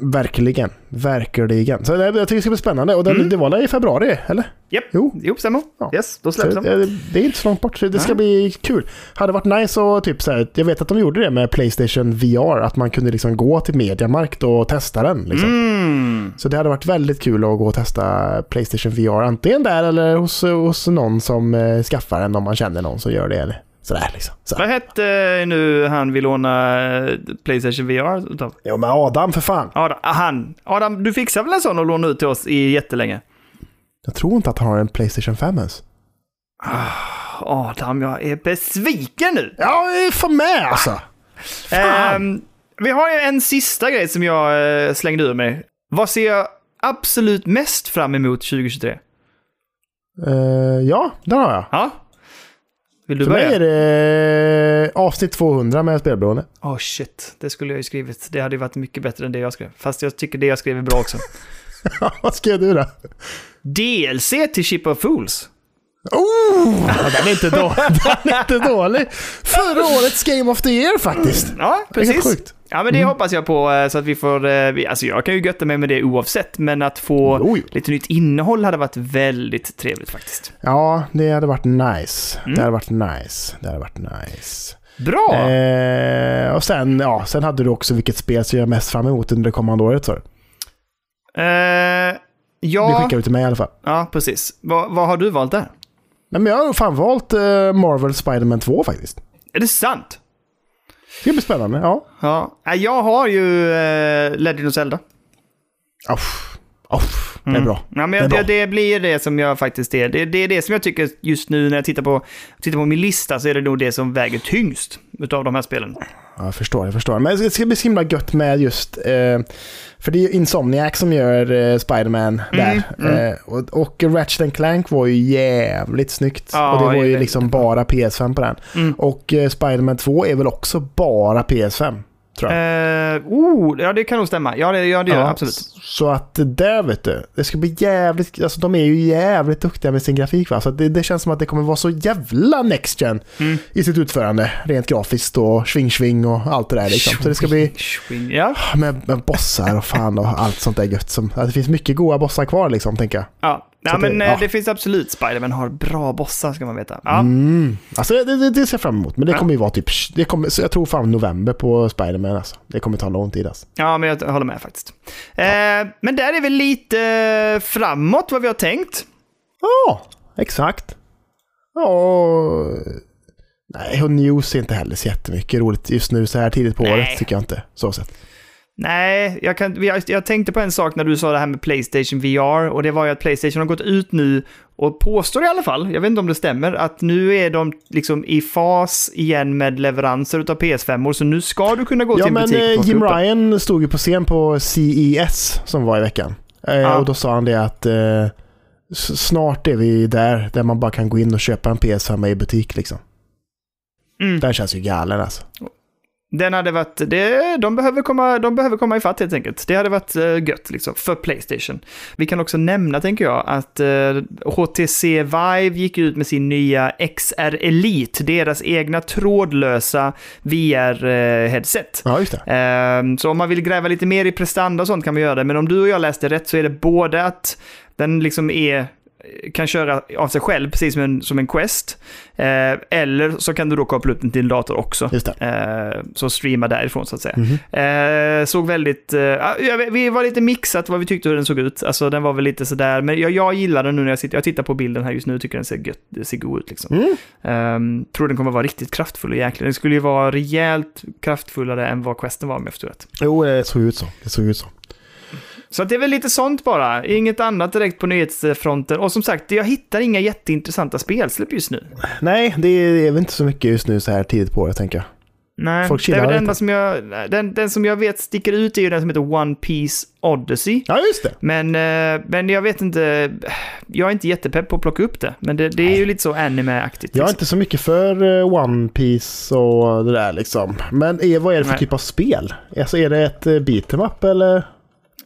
A: Verkligen. Verkligen. Så det, jag tycker det ska bli spännande. Och den,
B: Mm.
A: det var där i februari, eller?
B: Japp.
A: Jo.
B: Jo, stämmer.
A: Ja.
B: Yes, då
A: Så,
B: släpps de.
A: det, det är inte så långt bort. så Det ska
B: Nej.
A: bli kul. Hade varit nice och typ så här, jag vet att de gjorde det med Playstation VR, att man kunde liksom gå till Mediamarkt och testa den. Liksom.
B: Mm.
A: Så det hade varit väldigt kul att gå och testa Playstation VR, antingen där eller hos, hos någon som eh, skaffar den om man känner någon som gör det. Eller sådär liksom. Så.
B: Vad hette nu han vi lånade eh, Playstation VR utav?
A: Jo men Adam för fan.
B: Adam, ah, han. Adam, du fixar väl en sån och lånade ut till oss i jättelänge?
A: Jag tror inte att han har en Playstation 5 ens.
B: Adam, jag är besviken nu.
A: Ja, jag är fan med alltså. Fan.
B: Ehm, vi har ju en sista grej som jag eh, slängde ur mig. Vad ser jag absolut mest fram emot 2023?
A: Eh, ja, där har jag.
B: Ja? Vill du
A: För mig
B: börja?
A: är det eh, avsnitt 200 med spelberoende.
B: Åh shit, det skulle jag ju skrivit. Det hade ju varit mycket bättre än det jag skrev. Fast jag tycker det jag skrev är bra också.
A: Vad skrev du då?
B: DLC till Ship of Fools.
A: Oh, ja, den, är inte då, den är inte dålig. Förra årets Game of the Year faktiskt.
B: Ja,
A: Det är helt
B: precis.
A: sjukt. Mm.
B: Ja, men det hoppas jag på eh, så att vi får... eh, vi- Alltså jag kan ju götta mig med det oavsett, men att få
A: Jo, jo.
B: lite nytt innehåll hade varit väldigt trevligt faktiskt.
A: Ja, det hade varit nice.
B: Mm.
A: Det hade varit nice. Det hade varit nice.
B: Bra!
A: Eh, och sen, ja, sen hade du också vilket spel som jag är mest fram emot under det kommande året. Så.
B: Eh,
A: Det
B: ja,
A: skickar du till mig i alla fall.
B: ja, precis. Vad- vad har du valt där?
A: Nej, men jag har nog fan valt eh, Marvel Spider-Man 2 faktiskt.
B: Är det sant?
A: Det ska bli spännande. Ja.
B: Ja. Nej, Jag har ju eh, Legend of Zelda.
A: Uff. Uff. Det är bra.
B: Mm. Ja, men
A: Det är
B: jag,
A: bra.
B: det, det blir det som jag faktiskt är. Det, det är det som jag tycker just nu när jag tittar på, tittar på min lista så är det nog det som väger tyngst utav de här spelen.
A: Ja, jag förstår, jag förstår. Men det ska bli så himla gött med just... Eh, för det är ju Insomniac som gör eh, Spider-Man
B: Mm,
A: där. Eh, och, och Ratchet and Clank var ju jävligt snyggt.
B: Ja,
A: och det var
B: det
A: ju
B: är
A: liksom bara PS5 på den.
B: Mm.
A: Och eh, Spider-Man 2 är väl också bara PS5, tror jag.
B: Eh, oh, ja, det kan nog stämma. Ja, det, ja, det gör det
A: Ja,
B: absolut.
A: s- Så att det där vet du, det ska bli jävligt, alltså de är ju jävligt duktiga med sin grafik va. Så att det, det känns som att det kommer vara så jävla next gen
B: Mm.
A: i sitt utförande. Rent grafiskt och sving-sving och allt det där liksom. Så det ska bli...
B: Swing, Ja,
A: Med, med bossar och fan och allt sånt där gött. Som, att det finns mycket goda bossar kvar liksom, tänker jag.
B: ja.
A: Så
B: ja
A: det-
B: men det,
A: ja.
B: det finns absolut. Spiderman har bra bossar ska man veta. Ja.
A: Mm. Alltså det, det, det ser jag fram emot. Men det
B: Ja.
A: kommer ju vara typ... Det kommer, så jag tror fan november på Spiderman alltså. Det kommer ta lång tid alltså.
B: ja, men jag håller med faktiskt. Eh, men där är vi lite eh, framåt vad vi har tänkt.
A: Ja, exakt. Ja... och- Nej, och news är inte heller så jättemycket roligt just nu så här tidigt på
B: Nej.
A: året tycker jag inte. Så sett.
B: Nej, jag, kan, jag, jag tänkte på en sak när du sa det här med Playstation VR och det var ju att Playstation har gått ut nu och påstår i alla fall, jag vet inte om det stämmer, att nu är de liksom i fas igen med leveranser utav PS5 or så nu ska du kunna gå
A: Ja
B: till en
A: men
B: butik. och
A: eh,
B: plocka
A: Jim
B: upp dem.
A: Ryan stod ju på scen på CES som var i veckan. Eh,
B: Ja.
A: Och då sa han det att eh, s- snart är vi där, där man bara kan gå in och köpa en PS5 i butik liksom.
B: Mm.
A: Den känns ju galen alltså.
B: Den hade varit, det, de, behöver komma, de behöver komma ifatt helt enkelt. Det hade varit eh, gött liksom, för Playstation. Vi kan också nämna, tänker jag, att eh, HTC Vive gick ut med sin nya XR Elite, deras egna trådlösa VR-headset.
A: Ja just det.
B: Ehm, Så om man vill gräva lite mer i prestanda och sånt kan man göra det, men om du och jag läste rätt så är det både att den liksom är kan köra av sig själv, precis som en, som en Quest. Eh, eller så kan du då koppla upp den till din dator också.
A: Just Mhm.
B: Eh, så streama därifrån så att säga. Eh, såg väldigt, eh, ja, jag- vi var lite mixat vad vi tyckte hur den såg ut. Alltså den var väl lite sådär, men jag, jag gillar den nu när jag sitter, jag tittar på bilden här just nu och tycker den ser, gött, det ser god ut liksom.
A: Mm.
B: Ehm, tror den kommer vara riktigt kraftfull och jäklig. Den skulle ju vara rejält kraftfullare än vad questen var om jag förstår rätt.
A: Jo, det såg ut så. Det såg ut så.
B: Så att det är väl lite sånt bara, inget annat direkt på nyhetsfronten. Och som sagt, jag hittar inga jätteintressanta spelsläpp just nu.
A: Nej, det är väl inte så mycket just nu så här tidigt på året tänker jag.
B: Nej,
A: Folk
B: det
A: chillar
B: är väl det
A: lite.
B: enda som jag, den, den som jag vet sticker ut är ju den som heter One Piece Odyssey.
A: Ja, just det.
B: Men, eh, men jag vet inte, jag är inte jättepepp på att plocka upp det. Men det, det är ju lite så anime-aktigt.
A: Jag är
B: liksom.
A: inte så mycket för eh, One Piece och det där liksom. Men är, vad är det för
B: Nej.
A: typ av spel? Alltså är det ett eh, beat em up eller?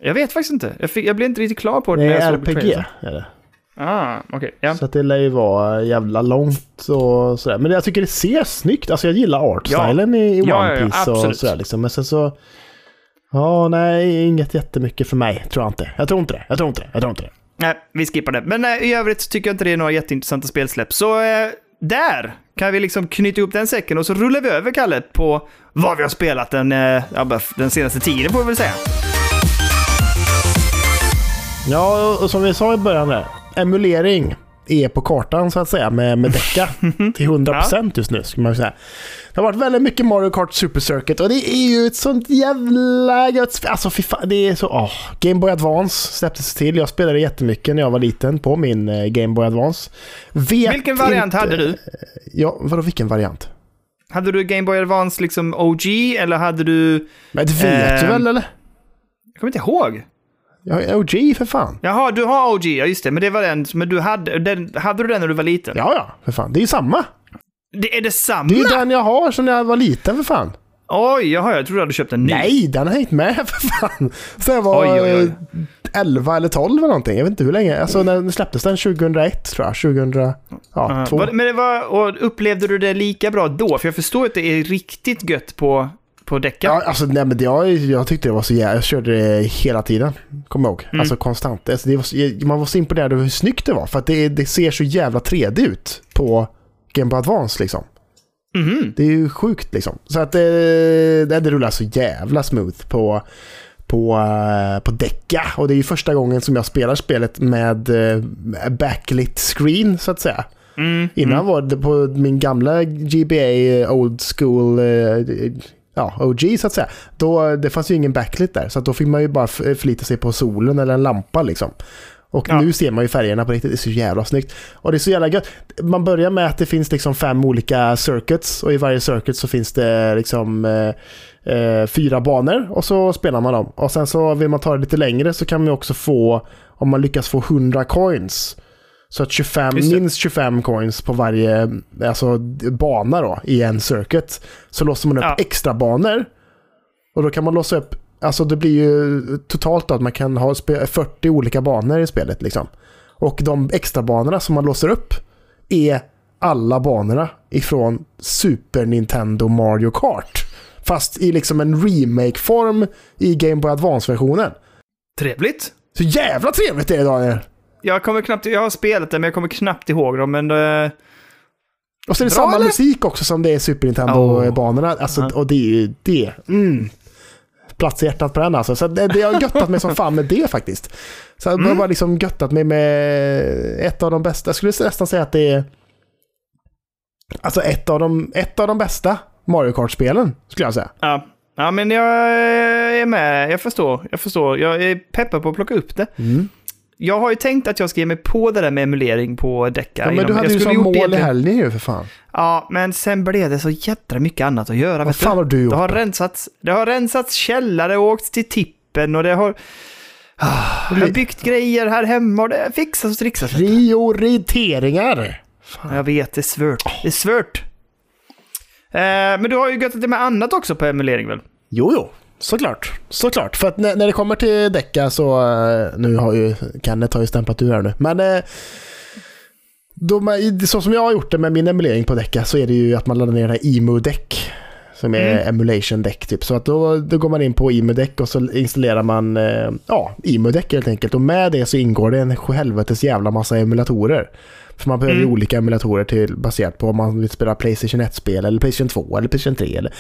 B: Jag vet faktiskt inte. Jag, fick, jag blev inte riktigt klar på det
A: Det
B: när
A: är
B: jag såg
A: RPG.
B: trailern.
A: Är det.
B: Ah, okej. Ja.
A: Så att det lär ju vara jävla långt och sådär. Men jag tycker det ser snyggt. Alltså jag gillar artstylen i, i One
B: Ja, ja, ja,
A: Piece och
B: absolut.
A: sådär liksom. Men sen så... Ja, nej, inget jättemycket för mig. Tror jag inte. Jag tror inte det. Jag tror inte det. Jag tror inte det.
B: Nej, vi skippar det. Men eh, i övrigt så tycker jag inte det är några jätteintressanta spelsläpp. Så eh, där kan vi liksom knyta ihop den säcken och så rullar vi över, Kalle, på vad vi har spelat den, eh, ja, bara f- den senaste tiden, får vi väl säga.
A: Ja, och som vi sa i början där. Emulering är på kartan så att säga med, med däcka till 100% just nu. Skulle man säga. Det har varit väldigt mycket Mario Kart Super Circuit och det är ju ett sånt jävla gött sp- Alltså fy fan, det är så... åh. Game Boy Advance släpptes till. Jag spelade jättemycket när jag var liten på min eh, Game Boy Advance. Vet
B: Vilken variant
A: inte-
B: hade du?
A: Ja, vadå vilken variant?
B: Hade du Game Boy Advance liksom OG eller hade du...
A: Men det vet du
B: Ehm.
A: väl eller?
B: Jag kommer inte ihåg.
A: Jag är OG för fan.
B: Jaha, du har OG, ja just det. Men det var den, men du hade, den, hade du den när du var liten?
A: Ja, ja, för fan. Det är ju samma.
B: Det är detsamma?
A: Det är ju den jag har som när jag var liten för fan.
B: Oj, jaha, jag trodde du hade köpt en ny.
A: Nej, den har hängt med för fan. Så jag var
B: Oj, oj, oj.
A: eh, 11 eller 12 eller någonting. Jag vet inte hur länge. Alltså när den släpptes den 2001 tror jag. 2002. Ja,
B: Ja,
A: två.
B: var det- men det var, och upplevde du det lika bra då? För jag förstår att det är riktigt gött på, på däcken.
A: ja, alltså, nej, men det, jag, jag tyckte det var så jävla... Jag körde det hela tiden. Kommer jag ihåg.
B: Mm.
A: Alltså konstant. Alltså, det var, så- man var så imponerad över hur snyggt det var. För att det, det ser så jävla 3D ut på Game Boy Advance liksom.
B: Mhm.
A: Det är ju sjukt liksom. Så att eh, det, det rullar så jävla smooth på, på, eh, på Deca. Och det är ju första gången som jag spelar spelet med eh, backlit screen så att säga.
B: Mm.
A: Innan var det på min gamla GBA eh, old school eh, ja, OG så att säga. Då, det fanns ju ingen backlit där så att då fick man ju bara f- eh, förlita sig på solen eller en lampa liksom. Och
B: Ja.
A: nu ser man ju färgerna på riktigt. Det är så jävla snyggt. Och det är så jävla gött. Man börjar med att det finns liksom fem olika circuits och i varje circuit så finns det liksom eh, eh, fyra banor och så spelar man dem. Och sen så vill man ta det lite längre så kan man ju också få, om man lyckas få 100 coins, så att 25,
B: Just det.
A: minst 25 coins på varje alltså, bana då, i en circuit. Så låser man upp
B: Ja.
A: extra banor. Och då kan man låsa upp, alltså det blir ju totalt då att man kan ha spe- 40 olika banor i spelet liksom. Och de extra banorna som man låser upp är alla banorna ifrån Super Nintendo Mario Kart. Fast i liksom en remake-form i Game Boy Advance-versionen.
B: Trevligt.
A: Så jävla trevligt det är Daniel!
B: Jag kommer knappt, jag har spelat det men jag kommer knappt ihåg dem, men... eh,
A: Och så är det
B: Bra,
A: samma
B: eller?
A: musik också som det är Super Nintendo-banorna. Alltså,
B: Ja.
A: Och det är ju det. Mm. Plats i hjärtat på den alltså. Så det, det har göttat mig som fan med det faktiskt. Så jag
B: Mm.
A: har bara liksom göttat mig med ett av de bästa. Jag skulle nästan säga att det är alltså ett av de, ett av de bästa Mario Kart-spelen skulle jag säga.
B: ja. ja, men jag eh, är med, jag förstår, jag förstår. Jag är peppad på att plocka upp det.
A: Mm.
B: Jag har ju tänkt att jag ska ge mig på det där med emulering på däckar.
A: Ja, men du
B: inom-
A: hade
B: jag
A: ju
B: skulle
A: som
B: gjort
A: mål
B: det
A: i
B: egentligen.
A: helgen ju för fan.
B: Ja, men sen blev det så jädra mycket annat att göra.
A: Vad
B: vet
A: fan
B: du?
A: har du gjort?
B: Det har, rensats, det har rensats källare och åkt till tippen och det har... Ah, Jag har byggt grejer här hemma och det har fixats och trixats.
A: Prioriteringar!
B: Jag vet, det är svårt. Det är svårt. Eh, men du har ju göttat det med annat också på emulering väl?
A: Jo, jo. Såklart. Såklart. För att när, när det kommer till Decca så... eh, Nu har ju Kenneth har ju stämplat ur här nu. Men... eh, De, är- så som jag har gjort det med min emulering på Decca så är det ju att man laddar ner det här emu-däck. Som är
B: Mm.
A: emulation deck typ. Så att då, då går man in på IMU-deck och så installerar man eh, ja, IMU-deck helt enkelt. Och med det så ingår det en helvetes jävla massa emulatorer. För man behöver ju
B: Mm.
A: olika emulatorer till, baserat på om man vill spela Playstation 1-spel eller Playstation 2 eller Playstation 3. Eller,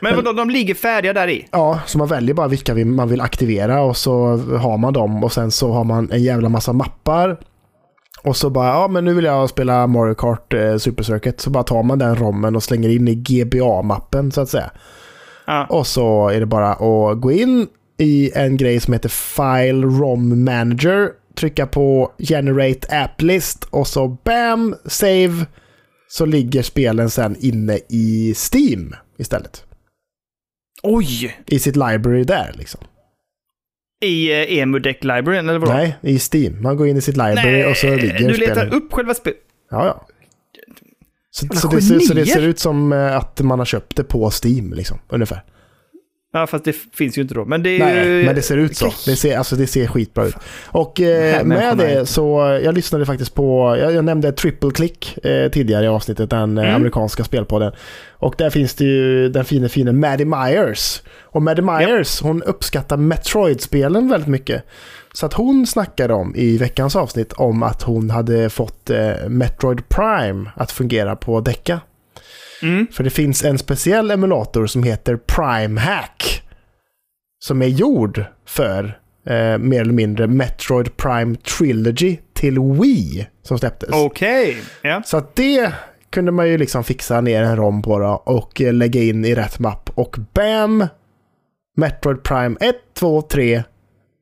B: Men vadå, de ligger färdiga där i?
A: ja, så man väljer bara vilka vi- man vill aktivera och så har man dem och sen så har man en jävla massa mappar. Och så bara, ja men nu vill jag spela Mario Kart eh, Super Circuit. Så bara tar man den rommen och slänger in i GBA-mappen så att säga.
B: Ja.
A: Och så är det bara att gå in i en grej som heter File ROM Manager, trycka på Generate App List och så BAM! Save! Så ligger spelen sen inne i Steam istället.
B: Oj!
A: I sitt library där liksom.
B: I eh, EMU-deck-libraryn, eller vadå?
A: Nej, i Steam. Man går in i sitt library och så ligger
B: du
A: spelen.
B: letar upp själva spelet.
A: Ja, ja. Så,
B: Jävla
A: så, det ser, så det
B: genier!
A: ser ut som eh, att man har köpt det på Steam liksom, ungefär.
B: Ja, fast det finns ju inte då. Men det är ju...
A: Nej, men det ser ut så.
B: Okej.
A: Det ser, alltså, det ser skitbra ut. Och
B: Den här
A: eh, med
B: människan är-
A: det så, eh, jag lyssnade faktiskt på, jag, jag nämnde Triple Click eh, tidigare i avsnittet, den eh,
B: Mm.
A: amerikanska spelpodden. Och där finns det ju den fine fine Maddie Myers. Och Maddie Myers, hon uppskattar Metroid-spelen väldigt mycket. Så att hon snackade om i veckans avsnitt om att hon hade fått eh, Metroid Prime att fungera på Deca.
B: Mm.
A: För det finns en speciell emulator som heter Prime Hack. Som är gjord för eh, mer eller mindre Metroid Prime Trilogy till Wii som släpptes.
B: Oh, Okej. Ja.
A: Så att det kunde man ju liksom fixa ner en rom på då och eh, lägga in i rätt mapp och BAM! Metroid Prime 1, 2, 3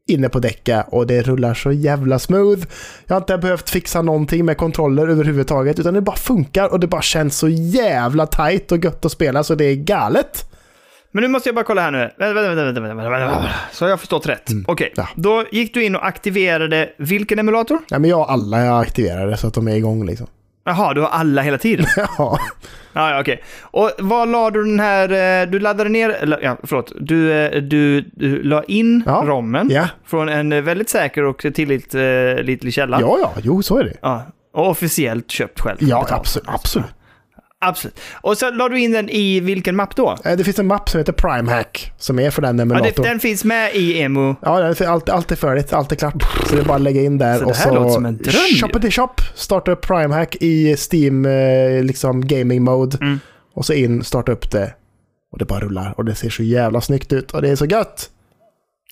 A: inne på däcka och det rullar så jävla smooth. Jag har inte behövt fixa någonting med kontroller överhuvudtaget utan det bara funkar och det bara känns så jävla tight och gött att spela så det är galet.
B: Men nu måste jag bara kolla här nu. Vänta, vänta, vänta. vänta, vänta, vänta, vänta. Så har jag förstått rätt. Okej,
A: Mm. Ja.
B: då gick du in och aktiverade vilken emulator?
A: Nej men jag har alla jag aktiverade så att de är igång liksom.
B: Jaha, du har alla hela tiden.
A: Ja,
B: ja, ja, okej. Och vad la du den här... eh, Du laddade ner... eller, Ja, förlåt. Du, eh, du, du la in
A: Ja.
B: rommen
A: ja,
B: från en eh, väldigt säker och tillitlig källa.
A: ja, ja, jo så är det.
B: Ja, Och officiellt köpt själv.
A: Ja,
B: Betalt.
A: absolut. absolut.
B: absolut. Och så la du in den i vilken mapp då?
A: Eh, Det finns en mapp som heter Prime Hack som är för den
B: Ja,
A: emulatorn.
B: det, den finns med i emo.
A: Ja, det är allt, allt är färdigt, allt är klart. Så det är bara att lägga in där
B: Så det
A: och
B: här låter som
A: så
B: en dröm ju.
A: shoppity shop. Starta upp PrimeHack i Steam eh, liksom gaming mode.
B: Mm.
A: Och så in, starta upp det. Och det bara rullar och det ser så jävla snyggt ut och det är så gött.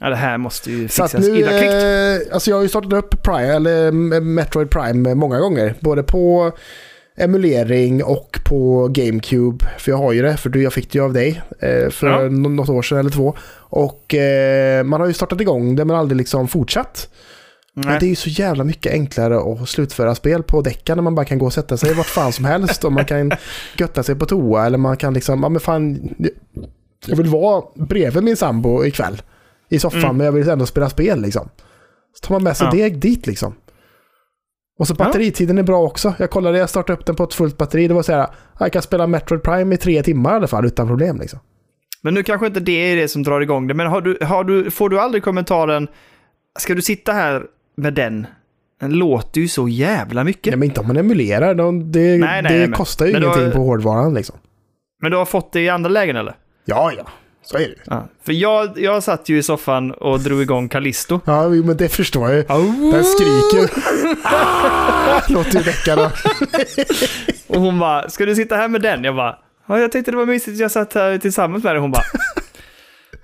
B: Ja, det här måste ju
A: Så
B: fixas.
A: att nu,
B: Illa kvickt.
A: eh, alltså jag har ju startat upp Prime, eller eh, Metroid Prime eh, många gånger. Både på emulering och på GameCube. För jag har ju det, för du, jag fick det ju av dig eh, för
B: Ja.
A: nå- något år sedan eller två. Och eh, man har ju startat igång det men aldrig liksom fortsatt. Men det är ju så jävla mycket enklare att slutföra spel på däckan när man bara kan gå och sätta sig vart fan som helst och man kan götta sig på toa eller man kan liksom, ja men fan, jag vill vara bredvid min sambo ikväll i soffan
B: Mm.
A: men jag vill ändå spela spel liksom. Så tar man med sig
B: Ja.
A: det dit liksom. Och så
B: Ja.
A: batteritiden är bra också. Jag kollade, jag startade upp den på ett fullt batteri. Det var så här, jag kan spela Metroid Prime i tre timmar i alla fall utan problem liksom.
B: Men nu kanske inte det är det som drar igång det, men har du, har du, får du aldrig kommentaren “Ska du sitta här med den?” Den låter ju så jävla mycket.
A: Nej men inte om man emulerar, de, det,
B: Nej, nej,
A: det
B: men-
A: kostar ju
B: men då-
A: ingenting på hårdvaran liksom.
B: Men du har fått det i andra lägen eller?
A: Ja, ja, så är det ju.
B: Ja. För jag, jag satt ju i soffan och drog igång Callisto.
A: Ja, jo, men det förstår jag ju. Den skriker ju. Ah! Låter ju väckarna.
B: Och hon bara “Ska du sitta här med den?” Jag bara “Ja, jag tyckte det var mysigt, jag satt här tillsammans med dig”. Hon bara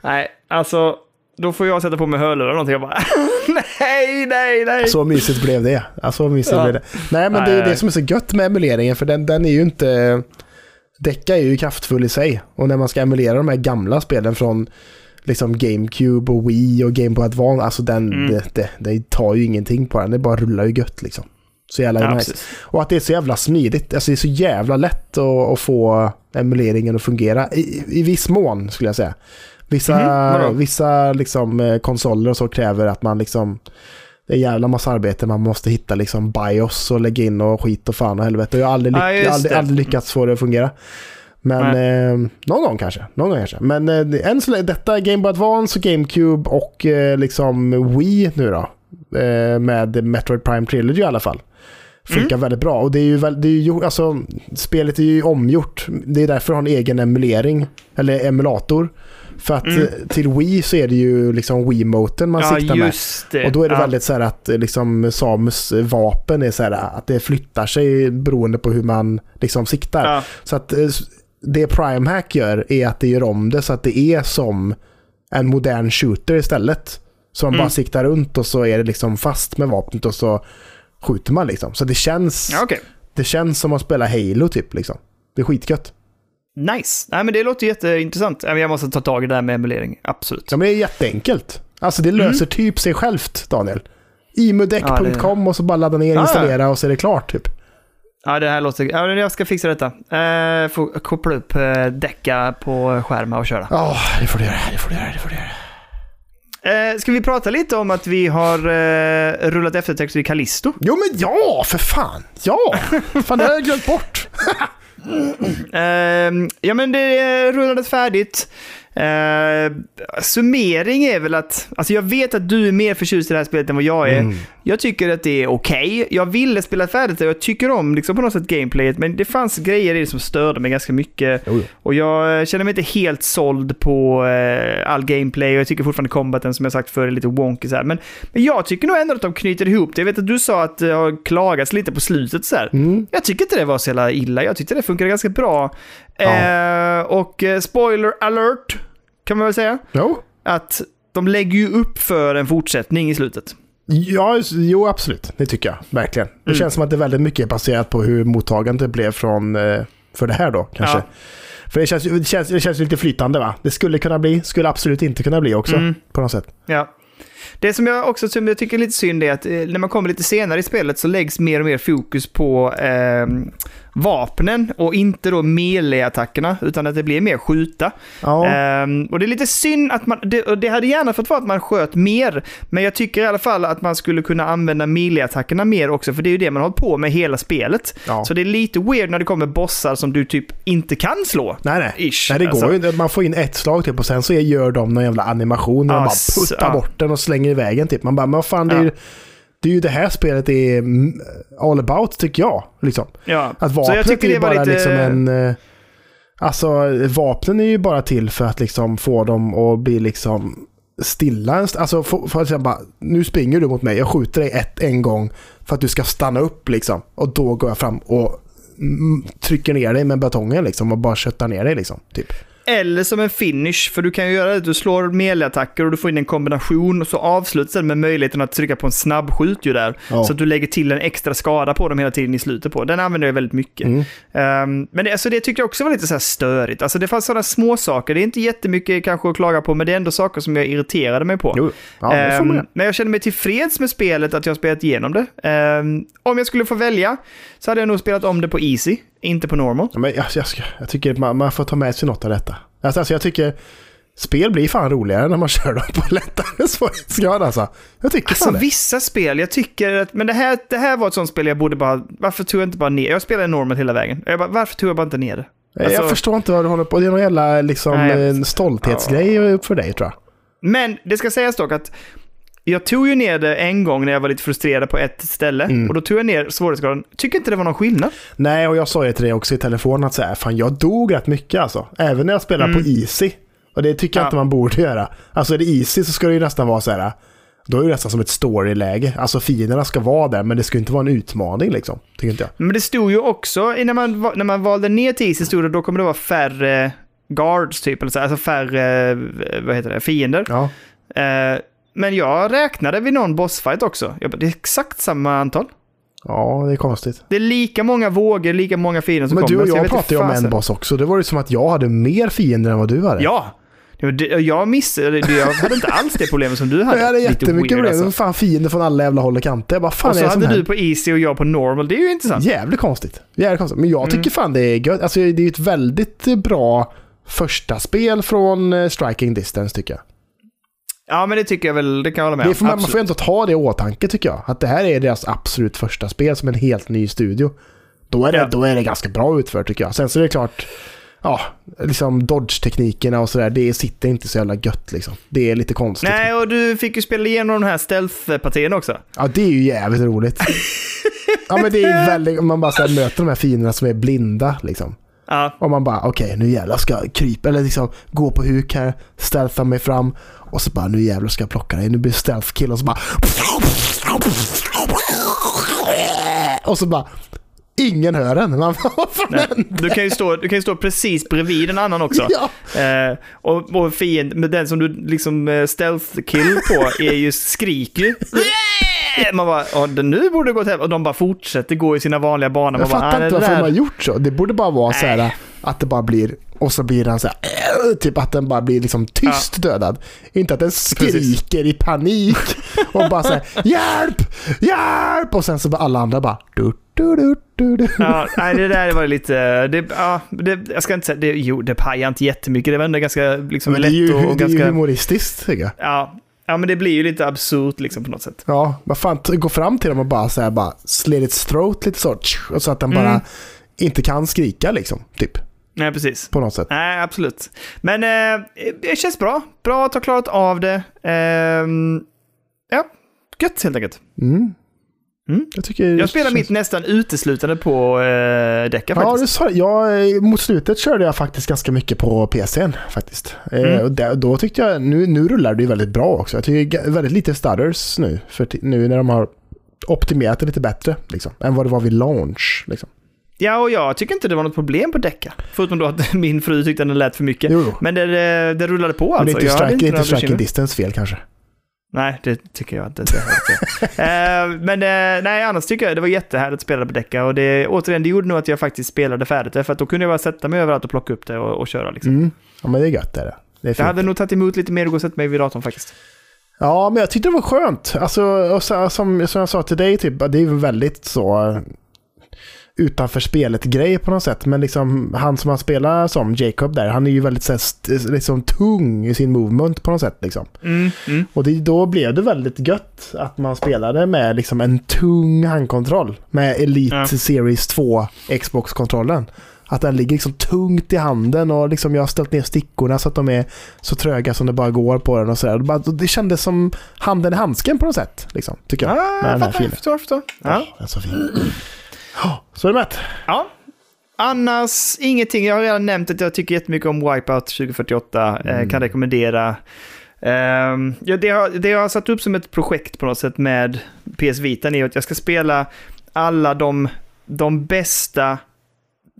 B: “Nej, alltså, då får jag sätta på mig hörlurar eller någonting”. Jag bara “Nej, nej, nej!”
A: Så mysigt blev det. Ja, så mysigt
B: Ja.
A: blev det. Nej, men det är ju det som är så gött med emuleringen, för den, den är ju inte... Decka är ju kraftfull i sig. Och när man ska emulera de här gamla spelen från liksom GameCube och Wii och Game Boy Advance, alltså den,
B: Mm.
A: det, det, det tar ju ingenting på den. Det bara rullar ju gött liksom. Så jävla
B: Ja,
A: nice.
B: precis.
A: Och att det är så jävla smidigt. Alltså det är så jävla lätt att, att få emuleringen att fungera. I, I viss mån skulle jag säga. Vissa,
B: Mhm, vadå?
A: vissa liksom, eh, konsoler och så kräver att man liksom... Det är en jävla massa arbete. Man måste hitta liksom bios och lägga in och skit och fan och helvete. Jag har aldrig, lyck-
B: Ja, just
A: jag har aldrig,
B: det.
A: aldrig lyckats få det att fungera. Men eh, någon gång kanske. Någon gång kanske. Men eh, det- än så länge, detta är Game Boy Advance och GameCube och eh, liksom Wii nu då. Eh, med Metroid Prime Trilogy i alla fall. Funkar väldigt bra. Och det är ju, väl, det är ju gjort- alltså, spelet är ju omgjort. Det är därför det har en egen emulering. Eller emulator. För att
B: Mm.
A: eh, till Wii så är det ju liksom Wiimoten man siktar med.
B: just det.
A: Och då är det
B: ja.
A: väldigt så här att eh, liksom, Samus eh, vapen är så här att det flyttar sig beroende på hur man liksom siktar.
B: Ja.
A: Så att eh, s- det Prime Hack gör är att det gör om det så att det är som en modern shooter istället. Så man
B: Mm.
A: bara siktar runt och så är det liksom fast med vapnet och så skjuter man liksom. Så det känns,
B: Ja, okej.
A: det känns som att spela Halo typ liksom. Det är skitgött.
B: Nice. Nej, men det låter jätteintressant. Nej, men Jag måste ta tag i det här med emulering. Absolut.
A: Ja, men det är jätteenkelt. Alltså
B: Mm.
A: det löser typ sig självt Daniel. Imudeck.com och så bara ladda ner,
B: Ja.
A: installera och så är det klart typ.
B: Ja, det här låter... Ja, men jag ska fixa detta. Eh, får koppla upp eh, däcka på skärmen och köra.
A: Ja, det får du göra, det får du göra, det får du göra.
B: Eh, ska vi prata lite om att vi har eh, rullat eftertext i Callisto?
A: Jo men ja, för fan! Ja! fan, det har jag glömt bort.
B: Ehm, ja, men det eh, rullades färdigt. Ehm, summering är väl att, alltså jag vet att du är mer förtjust i det här spelet än vad jag är.
A: Mm.
B: Jag tycker att det är okej. Jag ville spela färdigt det och jag tycker om liksom på något sätt gameplayet, men det fanns grejer i det som störde mig ganska mycket.
A: Jo, jo.
B: Och jag eh, känner mig inte helt såld på eh, all gameplay och jag tycker fortfarande combaten som jag sagt förr är lite wonky så här. Men, men jag tycker nog ändå att de knyter ihop det. Jag vet att du sa att det har klagats lite på slutet så här.
A: Mm.
B: Jag tycker inte det var så jävla illa. Jag tyckte det funkade ganska bra.
A: Ja.
B: Eh, och eh, spoiler alert kan man väl säga.
A: Jo.
B: Att de lägger ju upp för en fortsättning i slutet.
A: Ja, just- jo, absolut. Det tycker jag. Verkligen. Det
B: Mm.
A: känns som att det väldigt mycket är baserat på hur mottagandet blev från, eh, för det här då, kanske.
B: Ja.
A: För det känns, ju- det, känns, det känns ju lite flytande, va? Det skulle kunna bli, skulle absolut inte kunna bli också,
B: Mm.
A: på något sätt.
B: Ja. Det som jag också som jag tycker är lite synd är att eh, när man kommer lite senare i spelet så läggs mer och mer fokus på eh, vapnen och inte då melee-attackerna utan att det blir mer skjuta.
A: Ja,
B: Ehm, och det är lite synd att man, det, och det hade gärna fått vara att man sköt mer, men jag tycker i alla fall att man skulle kunna använda melee-attackerna mer också, för det är ju det man har hållit på med hela spelet.
A: ja.
B: Så det är lite weird när det kommer bossar som du typ inte kan slå.
A: Nej, nej.
B: Ish.
A: Nej, det går
B: Alltså,
A: ju inte. Man får in ett slag typ och sen så gör de någon jävla animation där
B: Ja,
A: de bara
B: s-
A: puttar
B: ja.
A: bort den och slänger iväg den typ. Man bara, men vad fan, det är,
B: Ja.
A: ju, det är ju det här spelet är mm, all about, tycker jag. Liksom.
B: Ja.
A: Att
B: Så jag
A: vapnet
B: tycker
A: är
B: det
A: ju
B: var
A: bara
B: lite...
A: liksom en... eh, Alltså vapnen är ju bara till för att liksom få dem att bli liksom stilla. en st- Alltså för, för att säga bara, nu springer du mot mig, jag skjuter dig ett, en gång för att du ska stanna upp liksom. Och då går jag fram och mm, trycker ner dig med batongen liksom och bara köttar ner dig liksom. Typ.
B: Eller som en finish, för du kan ju göra det. Du slår melee-attacker och du får in en kombination och så avslutas den med möjligheten att trycka på en snabbskjut ju där.
A: Ja.
B: Så att du lägger till en extra skada på dem hela tiden i slutet på. Den använder jag väldigt mycket.
A: Mm.
B: Ehm, men det, alltså det tyckte jag också var lite så här störigt. Alltså det fanns sådana små saker. Det är inte jättemycket kanske att klaga på, men det är ändå saker som jag irriterade mig på.
A: Jo, ja, det får man
B: Ehm,
A: göra.
B: men jag känner mig tillfreds med spelet, att jag har spelat igenom det. Ehm, om jag skulle få välja så hade jag nog spelat om det på easy, inte på normal.
A: Ja, Men jag, jag, ska- jag tycker att man, man får ta med sig något av detta. Alltså, alltså jag tycker spel blir fan roligare när man kör dem på lättare svårighetsgrad alltså. Jag tycker
B: Alltså
A: fan det.
B: vissa spel, jag tycker att, men det här, det här var ett sånt spel jag borde bara, varför tog jag inte bara ner, jag spelade normal hela vägen, jag bara, varför tog jag bara inte ner det? Alltså-
A: jag förstår inte vad du håller på Det är någon jävla liksom,
B: Nej, jag vet.
A: en stolthetsgrej för dig tror jag.
B: Men det ska sägas dock att jag tog ju ner det en gång när jag var lite frustrerad på ett ställe och då tog jag ner svårighetsgraden, tycker inte det var någon skillnad.
A: Nej, och jag sa ju till dig också i telefon att så här, fan jag dog rätt mycket alltså. Även när jag spelar på Easy. Och det tycker jag
B: Mm. Ja.
A: inte man borde göra. Alltså är det Easy så ska det ju nästan vara så här, då är det nästan som ett storyläge. Alltså fienderna ska vara där, men det ska ju inte vara en utmaning liksom. Tycker inte jag.
B: Men det stod ju också, i- när man, va- när man valde ner till Easy stod det, då kommer det vara färre guards typ, eller så, här, alltså färre, eh, vad heter det, fiender.
A: Ja.
B: Eh, men jag räknade vid någon bossfight också, jag bara, det är exakt samma antal.
A: ja, det är konstigt.
B: Det är lika många vågor, lika många fiender som
A: Men
B: kommer.
A: du och
B: så
A: jag
B: vet inte
A: pratade ju om
B: fasen.
A: en boss också. Det var ju som att jag hade mer fiender än vad du hade.
B: Ja! Det var det- Jag missade, det- jag hade inte alls det problemet som du hade.
A: Jag hade
B: Lite
A: jättemycket
B: weird,
A: problem. Det var
B: alltså.
A: fan fiender från alla jävla håll och kanter. Jag bara, fan
B: Och
A: är
B: så
A: det som
B: hade du
A: händer?
B: på easy och jag på normal, det är ju intressant.
A: Jävligt konstigt. Jävligt konstigt. Men
B: Mm.
A: jag tycker fan det är gött. Alltså, det är ju ett väldigt eh, bra första spel från eh, Striking Distance tycker jag.
B: Ja, men det tycker jag väl, det kan jag hålla med
A: det får man, man
B: Absolut.
A: får ändå ta det i åtanke tycker jag. Att det här är deras absolut första spel som en helt ny studio. Då är det,
B: Ja.
A: då är det ganska bra utfört tycker jag. Sen så är det klart ja, liksom dodge-teknikerna och sådär, det sitter inte så jävla gött liksom. Det är lite konstigt.
B: Nej, och du fick ju spela igenom de här stealth-partierna också.
A: Ja, det är ju jävligt roligt. ja, men det är väldigt, man bara så här, möter de här fienderna som är blinda liksom.
B: Ja,
A: Och man bara, okej nu jävlar ska jag krypa, eller liksom gå på huk här, stealtha mig fram. Och så bara, nu jävlar ska jag plocka dig, nu blir det stealth kill och så bara... Och så bara, ingen hör en. Man bara, vad fan
B: nej.
A: hände?
B: Du kan ju stå, du kan ju stå precis bredvid en annan också.
A: Ja,
B: Eh, och, och fiend, men den som du liksom eh, stealth kill på är ju, skriker ju. Man bara, ja, den nu borde gå åt helvete. Och de bara fortsätter gå i sina vanliga banor. Man
A: jag
B: bara,
A: fattar
B: "Ah,
A: inte
B: det
A: varför de
B: där-
A: har gjort så. Det borde bara vara så här att det bara blir, och så blir den så här, "Åh", typ att den bara blir liksom tyst dödad. Inte att den skriker i panik och bara så här, hjälp, hjälp! Och sen så bara alla andra bara, du, du, du, du, du.
B: Ja, nej, det där var lite... Det, ja, det, jag ska inte säga... Det, jo, det pajar inte jättemycket. Det var ändå ganska liksom,
A: Men det
B: lätt
A: är ju,
B: och, och
A: det är ju
B: ganska...
A: humoristiskt tycker jag.
B: Ja, ja, men det blir ju lite absurt liksom på något sätt.
A: Ja, vad fan, t- gå fram till dem och bara så här, bara slit its throat lite så. tsch, Och så att den bara
B: Mm.
A: inte kan skrika liksom, typ.
B: Nej, precis.
A: På något sätt.
B: Nej, absolut. Men eh, det känns bra. Bra att ha klarat av det. Ehm, ja, gött helt enkelt.
A: Mm.
B: Mm.
A: Jag, tycker det
B: Jag spelar
A: känns-
B: mitt nästan uteslutande på eh, Deca
A: Ja,
B: faktiskt.
A: du sa det. Jag, eh, mot slutet körde jag faktiskt ganska mycket på PCn faktiskt. Eh,
B: Mm.
A: och där, då tyckte jag, nu, nu rullar det ju väldigt bra också. Jag tycker det är väldigt lite stutters nu, för ti- nu när de har optimerat det lite bättre liksom, än vad det var vid launch. Liksom.
B: Ja, och jag tycker inte det var något problem på Deca. Förutom då att min fru tyckte den lät för mycket.
A: Jo, jo.
B: Men det, det, det rullade på
A: Men det är
B: alltså.
A: inte,
B: Jag hade
A: strike, det är inte
B: några
A: striking
B: bekymmer.
A: distance fel kanske.
B: Nej, det tycker jag inte. Det har jag inte. Eh, men eh, nej, annars tycker jag det var jättehärligt att spela på Deca. Och det, återigen, det gjorde nog att jag faktiskt spelade färdigt det, för att då kunde jag bara sätta mig överallt och plocka upp det och, och köra. Liksom.
A: Mm. Ja, men det är gött. Det är det. Det är
B: Jag
A: fint.
B: hade nog tagit emot lite mer och gå och sätta mig vid datorn faktiskt.
A: Ja, men jag tyckte det var skönt. Alltså, och så, som, som jag sa till dig, typ, det är ju väldigt så eh, utanför spelet-grej på något sätt. Men liksom, han som han spelar som, Jacob där, han är ju väldigt så här, st- liksom, tung i sin movement på något sätt. Liksom.
B: Mm, mm.
A: Och det, då blev det väldigt gött att man spelade med liksom, en tung handkontroll. Med Elite
B: Ja.
A: Series 2 Xbox-kontrollen. Att den ligger liksom tungt i handen och liksom jag har ställt ner stickorna så att de är så tröga som det bara går på den och sådär. Det bara- Det kändes som handen i handsken på något sätt. Liksom, tycker jag.
B: Ah,
A: med den
B: jag
A: här
B: fattar, jag
A: filen.
B: förstår, jag förstår. Ja.
A: Den är så fin. Ja, Så är det mätt.
B: Ja. Annars ingenting. Jag har redan nämnt att jag tycker jättemycket om Wipeout 2048. Eh, kan rekommendera. Ehm, ja, det, har, det jag har satt upp som ett projekt på något sätt med PS Vita är att jag ska spela alla de, de bästa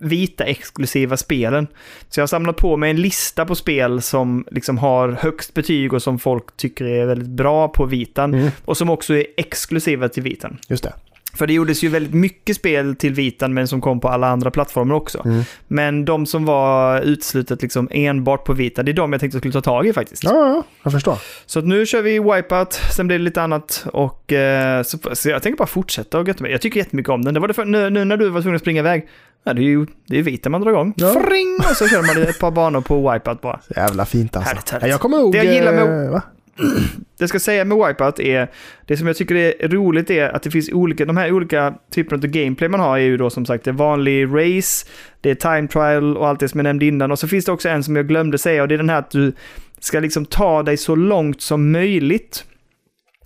B: vita exklusiva spelen. Så jag har samlat på mig en lista på spel som liksom har högst betyg och som folk tycker är väldigt bra på vitan.
A: Mm.
B: Och som också är exklusiva till vitan.
A: Just det.
B: För det gjordes ju väldigt mycket spel till vitan men som kom på alla andra plattformar också.
A: Mm.
B: Men de som var utslutet liksom enbart på vita, det är de jag tänkte jag skulle ta tag i faktiskt.
A: Ja, ja, ja, jag förstår.
B: Så att nu kör vi Wipeout, sen blir det lite annat och eh, så, så jag tänker bara fortsätta och götta mig. Jag tycker jättemycket om den. Det var det för, nu, nu när du var tvungen att springa iväg, ja, det är ju det är vita man drar igång.
A: Ja.
B: Fring! Och så kör man ett par banor på Wipeout bara.
A: Jävla fint alltså.
B: Härligt, härligt.
A: Jag kommer ihåg...
B: Det jag gillar med-
A: eh, va?
B: det jag ska säga med Wipeout är, det som jag tycker är roligt är att det finns olika, de här olika typerna av gameplay man har är ju då som sagt det är vanlig race, det är time trial och allt det som jag nämnde innan. Och så finns det också en som jag glömde säga och det är den här att du ska liksom ta dig så långt som möjligt.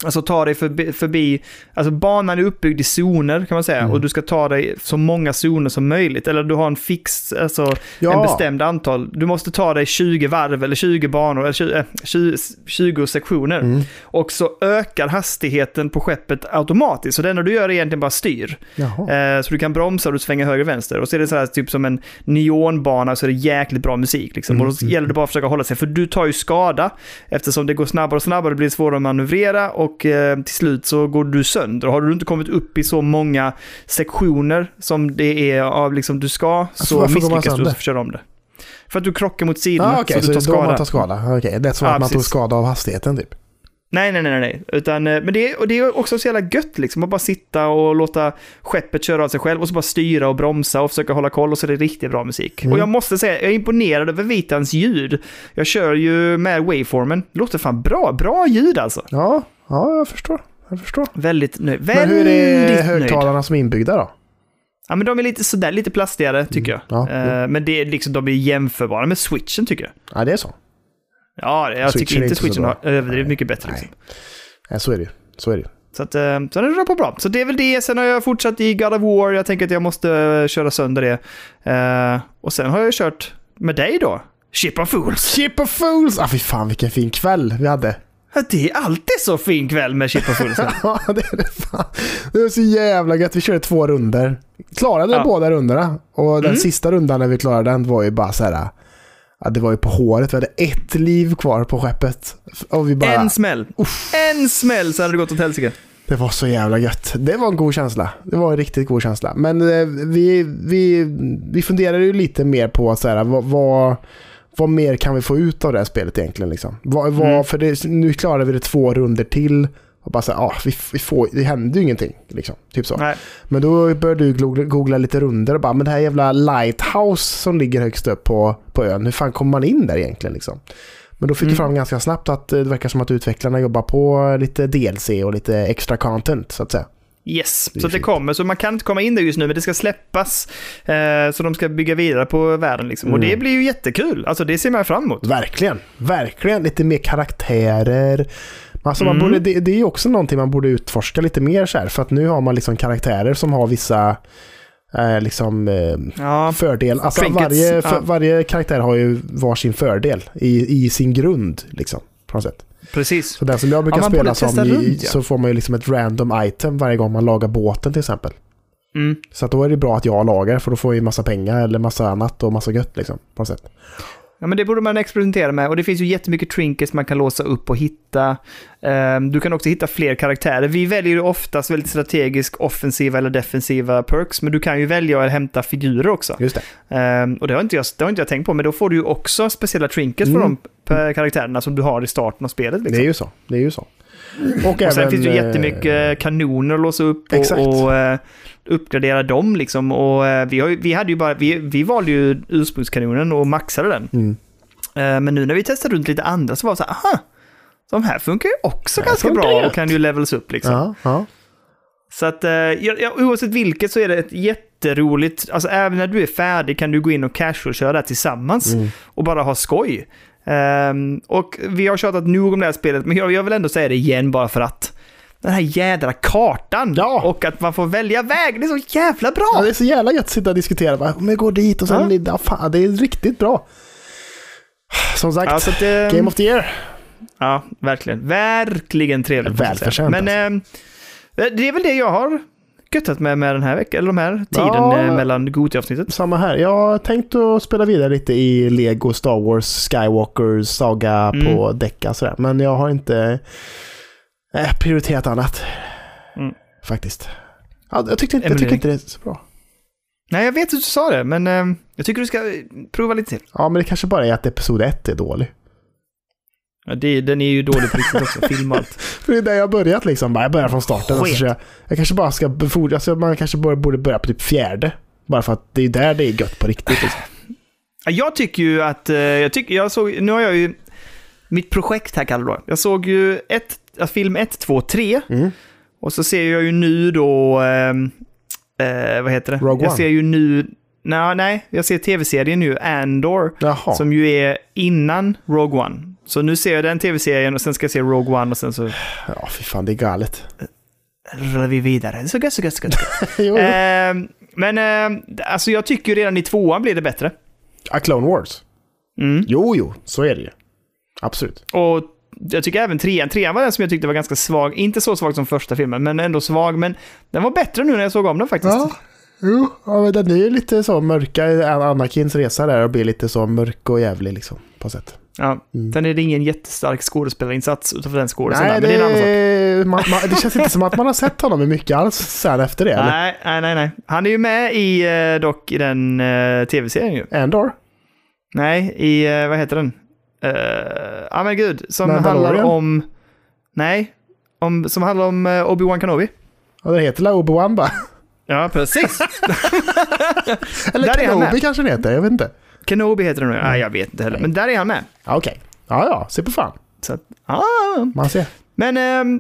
B: Alltså ta dig förbi, förbi alltså banan är uppbyggd i zoner kan man säga
A: Mm.
B: och du ska ta dig så många zoner som möjligt. Eller du har en fix, alltså en
A: Ja,
B: bestämd antal. Du måste ta dig 20 varv eller 20 banor, eller 20, eh, 20, 20 sektioner.
A: Mm.
B: Och så ökar hastigheten på skeppet automatiskt. Så det enda du gör är egentligen bara styr.
A: jaha.
B: Eh, så du kan bromsa och du svänger höger och vänster. Och så är det så här, typ som en neonbana så är det jäkligt bra musik. Liksom.
A: Mm,
B: Och då
A: mm,
B: gäller det bara att försöka hålla sig, för du tar ju skada. Eftersom det går snabbare och snabbare, det blir svårare att manövrera och eh, till slut så går du sönder. Och har du inte kommit upp i så många sektioner som det är av liksom du ska, så
A: Alltså, varför går man
B: misslyckas du och
A: sönder?
B: så får du köra om det. För att du krockar mot sidorna
A: Ah, Okej,
B: så
A: så
B: att du
A: det
B: tar
A: är då man
B: skada.
A: tar skada. Okej, Det är som
B: Ja,
A: att man tog
B: precis.
A: skada av hastigheten typ.
B: Nej, nej, nej, nej. Utan, eh, men det är, och det är också så jävla gött liksom att bara sitta och låta skeppet köra av sig själv och så bara styra och bromsa och försöka hålla koll och så är det riktigt bra musik.
A: Mm.
B: Och jag måste säga, jag är imponerad över Vitans ljud. Jag kör ju med waveformen. Det låter fan bra, bra ljud alltså.
A: Ja, ja jag förstår. Jag förstår.
B: Väldigt nöjd.
A: Men
B: Väldigt
A: hur är
B: nöjd.
A: högtalarna som är inbyggda då?
B: Ja, men de är lite sådär, lite plastigare tycker jag.
A: Mm. ja,
B: Eh, Men det är liksom, de är jämförbara med switchen tycker jag.
A: Ja, det är så.
B: Ja, jag
A: Switchen är
B: tycker
A: inte
B: inte
A: så
B: switchen
A: bra.
B: har överdrivet mycket bättre.
A: Nej.
B: Liksom.
A: Ja, så är det ju. Så är det ju.
B: Så, att, eh, så den rullar på bra. Så det är väl det. Sen har jag fortsatt i God of War. Jag tänker att jag måste eh, köra sönder det. Eh, och sen har jag kört med dig då. Ship of Fools.
A: Chip of Fools! Ah, fy fan vilken fin kväll vi hade.
B: Ja, Det är alltid så fin kväll med Ship of Fools.
A: Ja, det är det fan. Det var så jävla gött. Vi körde två runder. Klarade
B: Ja. Mm.
A: båda rundorna. Och den sista rundan när vi klarade den var ju bara så här. Ja, det var ju på håret. Vi hade ett liv kvar på skeppet. Och vi bara,
B: En smäll. En smäll så hade det gått åt helsike.
A: Det var så jävla gött. Det var en god känsla. Det var en riktigt god känsla. Men eh, vi, vi, vi funderade ju lite mer på så här, vad, vad, vad mer kan vi få ut av det här spelet egentligen? Liksom? Vad, vad,
B: Mm.
A: För det, nu klarade vi det två runder till. Och bara så här, ah, vi, vi får, det hände ju ingenting. Liksom. Typ så.
B: Nej.
A: Men då började du googla, googla lite runder och bara, men det här jävla lighthouse som ligger högst upp på, på ön, hur fan kommer man in där egentligen? Liksom? Men då fick du
B: Mm.
A: fram ganska snabbt att eh, det verkar som att utvecklarna jobbar på lite DLC och lite extra content så att säga.
B: Yes,
A: Det är
B: så att det
A: fint.
B: kommer. Så man kan inte komma in där just nu, men det ska släppas. Eh, så de ska bygga vidare på världen liksom. Och
A: Mm.
B: det blir ju jättekul. Alltså det ser man fram emot.
A: Verkligen, verkligen. Lite mer karaktärer. Alltså man
B: Mm.
A: borde, det, det är ju också någonting man borde utforska lite mer så här, för att nu har man liksom karaktärer som har vissa eh, liksom, eh,
B: Ja,
A: fördel. Alltså
B: Trinkets,
A: varje, för,
B: ja.
A: varje karaktär har ju varsin fördel i, i sin grund. Liksom, på något sätt.
B: precis.
A: Så den som jag brukar
B: Ja, man
A: spela
B: borde
A: som
B: testa
A: i,
B: runt, ja.
A: så får man ju liksom ett random item varje gång man lagar båten till exempel.
B: Mm.
A: Så att då är det bra att jag lagar för då får jag ju massa pengar eller massa annat och massa gött liksom. På något sätt.
B: Ja, men det borde man experimentera med. Och det finns ju jättemycket trinkets man kan låsa upp och hitta. Ehm, du kan också hitta fler karaktärer. Vi väljer ju oftast väldigt strategisk offensiva eller defensiva perks, men du kan ju välja att hämta figurer också.
A: Just det.
B: Ehm, och det har, inte jag, det har inte jag tänkt på, men då får du ju också speciella trinkets för
A: Mm.
B: de p- karaktärerna som du har i starten av spelet. Liksom.
A: Det är ju så. Det är ju så. Och,
B: Och sen
A: även,
B: finns det ju
A: eh,
B: jättemycket kanoner att låsa upp
A: Exakt.
B: och, och eh, uppgradera dem liksom. Och eh, vi, har, ju- vi, hade ju bara, vi, vi valde ju ursprungskanonen och maxade den.
A: Mm.
B: Eh, Men nu när vi testade runt lite andra så var det så här, aha, de här funkar ju också
A: Det här
B: ganska
A: funkar
B: bra
A: gött.
B: och kan ju levels upp liksom.
A: Ja, ja.
B: Så att eh, ja, ja, oavsett vilket så är det ett jätteroligt, alltså även när du är färdig kan du gå in och casual-köra det här tillsammans
A: Mm.
B: och bara ha skoj. Ehm, och vi har tjatat nog om det här spelet, men jag, jag vill ändå säga det igen bara för att den här jädra kartan
A: Ja.
B: och att man får välja väg, det är så jävla bra!
A: Ja, det är så jävla gött att sitta och diskutera. Bara, men gå dit och sen... Ja. fan, det är riktigt bra. Som sagt,
B: Ja, så att, eh,
A: Game of the Year.
B: Ja, verkligen. Verkligen trevligt. måste jag
A: Välförtjänt,
B: säga. Men eh, det är väl det jag har göttat med, med den här veckan, eller de här tiden
A: Ja.
B: eh, mellan Gothia-avsnittet.
A: Samma här. Jag har tänkt att spela vidare lite i Lego, Star Wars, Skywalker, Saga
B: Mm.
A: på Deca och sådär. Men jag har inte eh, prioriterat annat.
B: Mm. Faktiskt.
A: Ja, Jag tyckte inte, jag tycker
B: Emily.
A: inte det är så bra.
B: Nej, jag vet att du sa det, men eh, jag tycker du ska eh, prova lite till.
A: Ja, men det kanske bara är att episod 1 är dålig.
B: Ja, det, den är ju dålig på riktigt också, film och allt.
A: För det är där jag har börjat liksom. Bara, Jag börjar från starten. Alltså,
B: Sket.
A: så jag, jag kanske bara ska befordra, alltså, man kanske bara borde börja på typ fjärde. Bara för att det är där det är gött på riktigt. Liksom.
B: Ja, Jag tycker ju att, eh, jag tycker, jag såg, nu har jag ju mitt projekt här, Kalle då. Jag såg ju ett, ja, film 1, 2, 3
A: Mm.
B: och så ser jag ju nu då, ehm, eh, vad heter det?
A: Rogue
B: jag
A: One.
B: ser ju nu, nej, nej, jag ser tv-serien nu, Andor.
A: Jaha.
B: Som ju är innan Rogue One. Så nu ser jag den tv-serien och sen ska jag se Rogue One och sen så
A: Ja, fy fan, det är galet.
B: rullar vi vidare. Så gött, så gött, så gött.
A: jo, jo.
B: Ehm, men ehm, alltså jag tycker ju redan i tvåan blir det bättre.
A: A Clone Wars.
B: Mm.
A: Jo, jo, så är det ju. Absolut.
B: Och jag tycker även trean. Trean var den som jag tyckte var ganska svag. Inte så svag som första filmen, men ändå svag. Men den var bättre nu när jag såg om den faktiskt.
A: Ja, jo. Ja, men den är ju lite så mörka, Anakins resa där och blir lite så mörk och jävlig liksom. På sätt.
B: Ja.
A: Mm.
B: Sen är det ingen jättestark skådespelarinsats utanför den
A: Nej,
B: skådespelaren, men det är en annan
A: det,
B: sak.
A: man, man, det känns inte som att man har sett honom i mycket alls sen efter det. Eller?
B: Nej, nej, nej, nej. Han är ju med i eh, dock i den eh, tv-serien ju.
A: Andor?
B: Nej, i, eh, vad heter den? Eh, Ja men gud, som
A: Mandalorian?
B: handlar om... Nej, om, som handlar om eh, Obi-Wan Kenobi.
A: Ja, den heter la Obi-Wan bara.
B: Ja, precis.
A: Eller
B: Där är han
A: Kenobi
B: med.
A: kanske den heter, jag vet inte.
B: Kenobi heter den nu.
A: Mm.
B: Nej, jag vet inte heller. Men där är han med.
A: Ja, Okej. Ja, ja, se på fan.
B: Så att, ah.
A: Man ser.
B: Men ehm,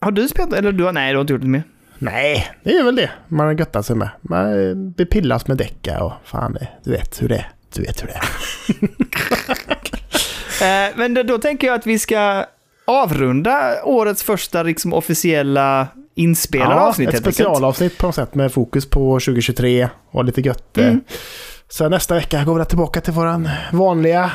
B: har du spelat, eller du har, nej du har inte gjort det mer.
A: Nej, det är väl det man göttar sig med. Man eh, bepillas med däcka och fan, det, du vet hur det är. Du vet hur det är.
B: Eh, men då, då tänker jag att vi ska avrunda årets första liksom, officiella inspelade avsnitt
A: ett
B: helt enkelt.
A: specialavsnitt på något sätt med fokus på 2023 och lite gött.
B: Mm.
A: eh. Så nästa vecka går vi tillbaka till våran vanliga,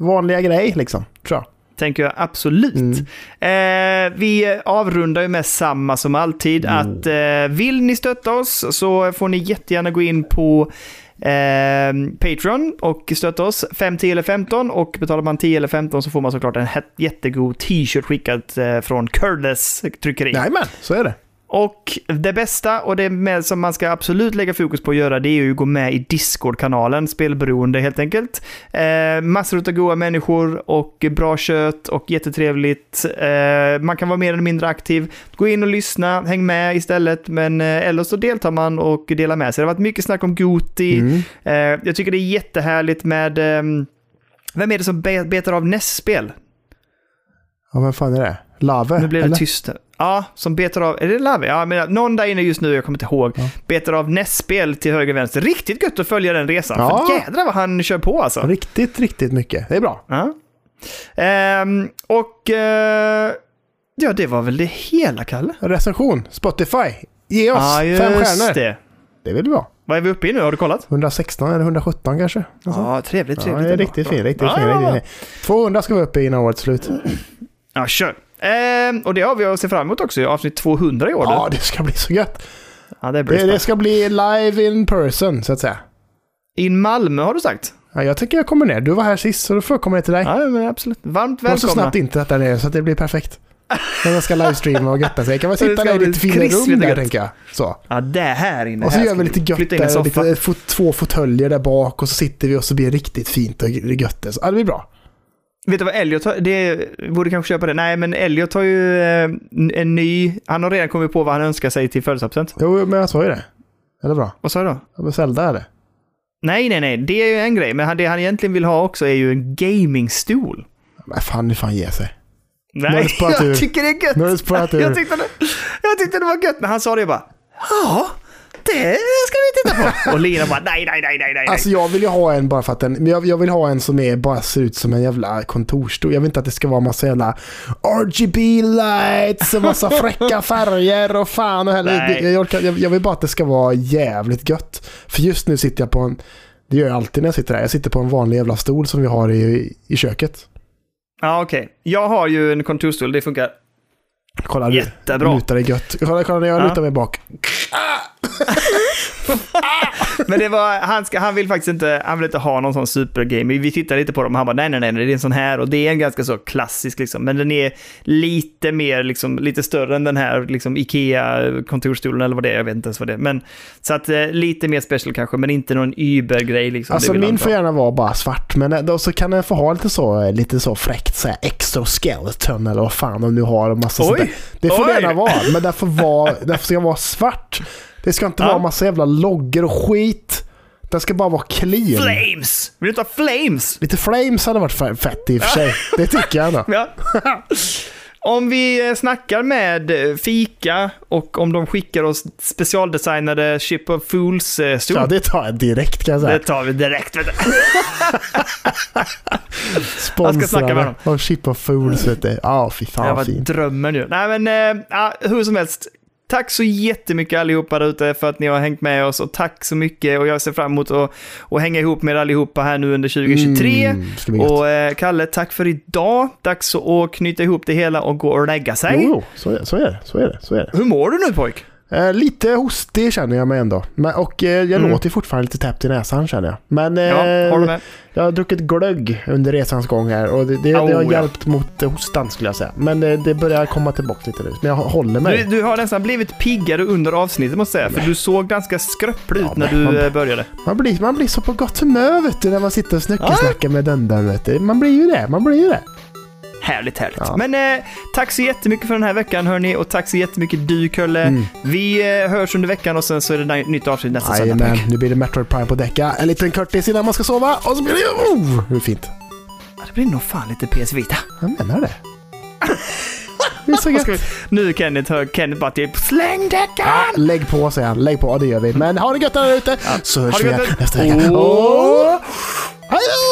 A: vanliga grej liksom, tror jag.
B: Tänker jag absolut.
A: Mm.
B: Eh, vi avrundar ju med samma som alltid. Att eh, vill ni stötta oss så får ni jättegärna gå in på eh, Patreon och stötta oss 5, 10 eller 15 och betalar man 10 eller 15 så får man såklart en hä- jättegod t-shirt skickad eh, från Curless tryckeri.
A: Jajamän, så är det.
B: Och det bästa och det med, som man ska absolut lägga fokus på att göra det är ju att gå med i Discord-kanalen, spelberoende helt enkelt. Eh, massor av goa människor och bra kött och jättetrevligt. Eh, man kan vara mer eller mindre aktiv. Gå in och lyssna, häng med istället, men eh, eller så deltar man och delar med sig. Det har varit mycket snack om Goti.
A: Mm.
B: Eh, jag tycker det är jättehärligt med... ehm, vem är det som be- betar av nästspel?
A: Ja, vad fan är det? Lave?
B: Nu blev det
A: eller?
B: tyst. här. Ja, som betar av, är det Lavi? Ja, men någon där inne just nu, jag kommer inte ihåg,
A: Ja.
B: betar av nästspel till höger och vänster. Riktigt gött att följa den resan.
A: Ja.
B: För jädrar vad han kör på alltså.
A: Riktigt, riktigt mycket. Det är bra.
B: Ja. Ehm, och eh, ja, det var väl det hela, Kalle?
A: Recension, Spotify. Ge oss
B: Ja, just
A: fem stjärnor. Det.
B: det.
A: vill vi ha.
B: Vad är vi uppe i nu? Har du kollat?
A: 116 eller 117 kanske? Ja,
B: Ja, trevligt,
A: ja,
B: trevligt.
A: det är
B: ändå.
A: riktigt fin, riktigt
B: Ja,
A: fin,
B: ja, ja. Mm,
A: riktigt fin. 200 ska vi upp i innan årets slut.
B: Ja, kör. Ehm, och det har vi att se fram emot också, i avsnitt 200 i år.
A: Ja,
B: Ja,
A: det ska bli så gött.
B: ja det
A: Det,
B: blir
A: det
B: spännande.
A: ska bli live in person, så att säga.
B: In Malmö har du sagt?
A: Ja, jag tycker jag kommer ner. Du var här sist, så då får jag komma ner till dig.
B: Ja, men absolut. Varmt
A: Välkomna. Och så
B: välkomna.
A: snabbt inte där nere, så att det blir perfekt. När jag ska livestreama och götta sig. Jag kan väl
B: Så det
A: sitta
B: ska
A: där i
B: bli
A: ditt fina
B: krispigt
A: rum
B: och
A: där,
B: gött.
A: tänker jag. Så.
B: Ja, det här inne.
A: Och så
B: här
A: gör vi
B: ska
A: lite gött
B: Flytta in en
A: där, och
B: soffa.
A: lite, fot, två fåtöljer där bak och så sitter vi och så blir det riktigt fint och gött. Så, ja, det blir bra.
B: Vet du vad Elliot har? Det borde kanske köpa det. Nej, men Elliot har ju eh, en ny... Han har redan kommit på vad han önskar sig till födelsedagspresent.
A: Jo, men jag sa ju det. Är det bra?
B: Vad sa du då?
A: Ja, men Zelda är det.
B: Nej, nej, nej. Det är ju en grej. Men han, det han egentligen vill ha också är ju en gamingstol.
A: Men fan, nu fan ge sig. har
B: Nej,
A: det spårat ur.
B: jag tycker det är gött.
A: Nu har det spårat ur.
B: jag, tyckte det, jag tyckte det var gött när han sa det. Jag bara, ja, det ska vi titta på. Och Lina bara, nej, nej, nej, nej, nej.
A: Alltså jag vill ju ha en bara för att den, men jag, jag vill ha en som är, bara ser ut som en jävla kontorsstol. Jag vill inte att det ska vara massa jävla RGB lights och massa fräcka färger och fan och heller.
B: Nej.
A: Jag, orkar, jag, jag vill bara att det ska vara jävligt gött. För just nu sitter jag på en, det gör jag alltid när jag sitter här, jag sitter på en vanlig jävla stol som vi har i, i köket.
B: Ja, okej. Jag har ju en kontorstol. Det funkar
A: Kolla nu.
B: jättebra.
A: Lutar dig gött. Kolla, kolla när jag
B: Ja.
A: lutar mig bak.
B: Men det var, han, ska, han vill faktiskt inte, han vill inte ha någon sån supergame. Vi tittade lite på dem och han bara nej, nej, nej, nej, det är en sån här och det är en ganska så klassisk liksom. Men den är lite mer, liksom, lite större än den här liksom, Ikea-kontorstolen eller vad det är, jag vet inte ens vad det är. Men, så att eh, lite mer special kanske, men inte någon Uber-grej liksom.
A: Alltså
B: Det vill han
A: min
B: inte
A: får
B: ha.
A: gärna vara bara svart, men då så kan den få ha lite så, lite så fräckt så här exoskeleton eller vad fan de nu har och massa
B: Oj!
A: sånt där. Det får det
B: Oj!
A: gärna vara, men den får vara, den ska vara svart. Det ska inte
B: Ja.
A: vara massa jävla loggor och skit. Den ska bara vara clean.
B: Flames! Vill du ta flames?
A: Lite flames hade varit fe- fett i och för sig. Det tycker jag ändå.
B: Ja. Om vi eh, snackar med eh, Fika och om de skickar oss specialdesignade Ship of Fools-stol.
A: Ja, det tar jag direkt kan jag
B: det
A: säga.
B: tar vi direkt. Vet du.
A: Sponsrade.
B: jag ska snacka med dem.
A: Och Chip of Fools vet du. Ja, fy fan
B: det
A: vad
B: var
A: fint.
B: drömmen ju. Nej men, eh, ja, hur som helst. Tack så jättemycket allihopa där ute för att ni har hängt med oss och tack så mycket och jag ser fram emot att, att hänga ihop med er allihopa här nu under 2023.
A: Mm, ska bli gött.
B: Och eh, Kalle, tack för idag. Dags att knyta ihop det hela och gå och lägga sig.
A: Jo, jo, så är, så är det. Så är det. Så är det.
B: Hur mår du nu pojk?
A: Eh, lite hostig känner jag mig ändå. Men, och eh, jag
B: Mm.
A: låter ju fortfarande lite täppt i näsan känner jag. Men eh,
B: Ja, har du med?
A: jag har druckit glögg under resans gång här och det, det, det har
B: Oh, ja.
A: hjälpt mot eh, hostan skulle jag säga. Men eh, det börjar komma tillbaka lite nu. Men jag håller mig.
B: Du, du har nästan blivit piggare under avsnittet måste jag säga, för du såg ganska skröplig ut
A: Ja,
B: när
A: men-
B: du eh, började.
A: Man, blir, man blir så på gott humör vet du när man sitter och snuckesnackar med den där vet du. Man blir ju det. Man blir ju det.
B: Härligt, härligt.
A: Ja.
B: Men eh, tack så jättemycket för den här veckan hörni och tack så jättemycket du Kölle.
A: Mm.
B: Vi eh, hörs under veckan och sen så är det ny- nytt avsnitt nästa söndag.
A: Jajamän,
B: pojk.
A: nu blir det Metroid Prime på däcka. En liten kortis innan man ska sova och så blir det... Oh, hur fint.
B: Ja, det blir nog fan lite PS Vita.
A: Jag menar det. Det är så gött.
B: Ska vi, nu Kenneth hör Kenneth bara typ släng
A: Ja,
B: däcken!
A: lägg på säger han. Lägg på, ja, det gör vi. Men ha det gött där ute så hörs
B: det
A: vi
B: gött
A: igen
B: där-
A: nästa vecka.
B: Åh!
A: Hej då!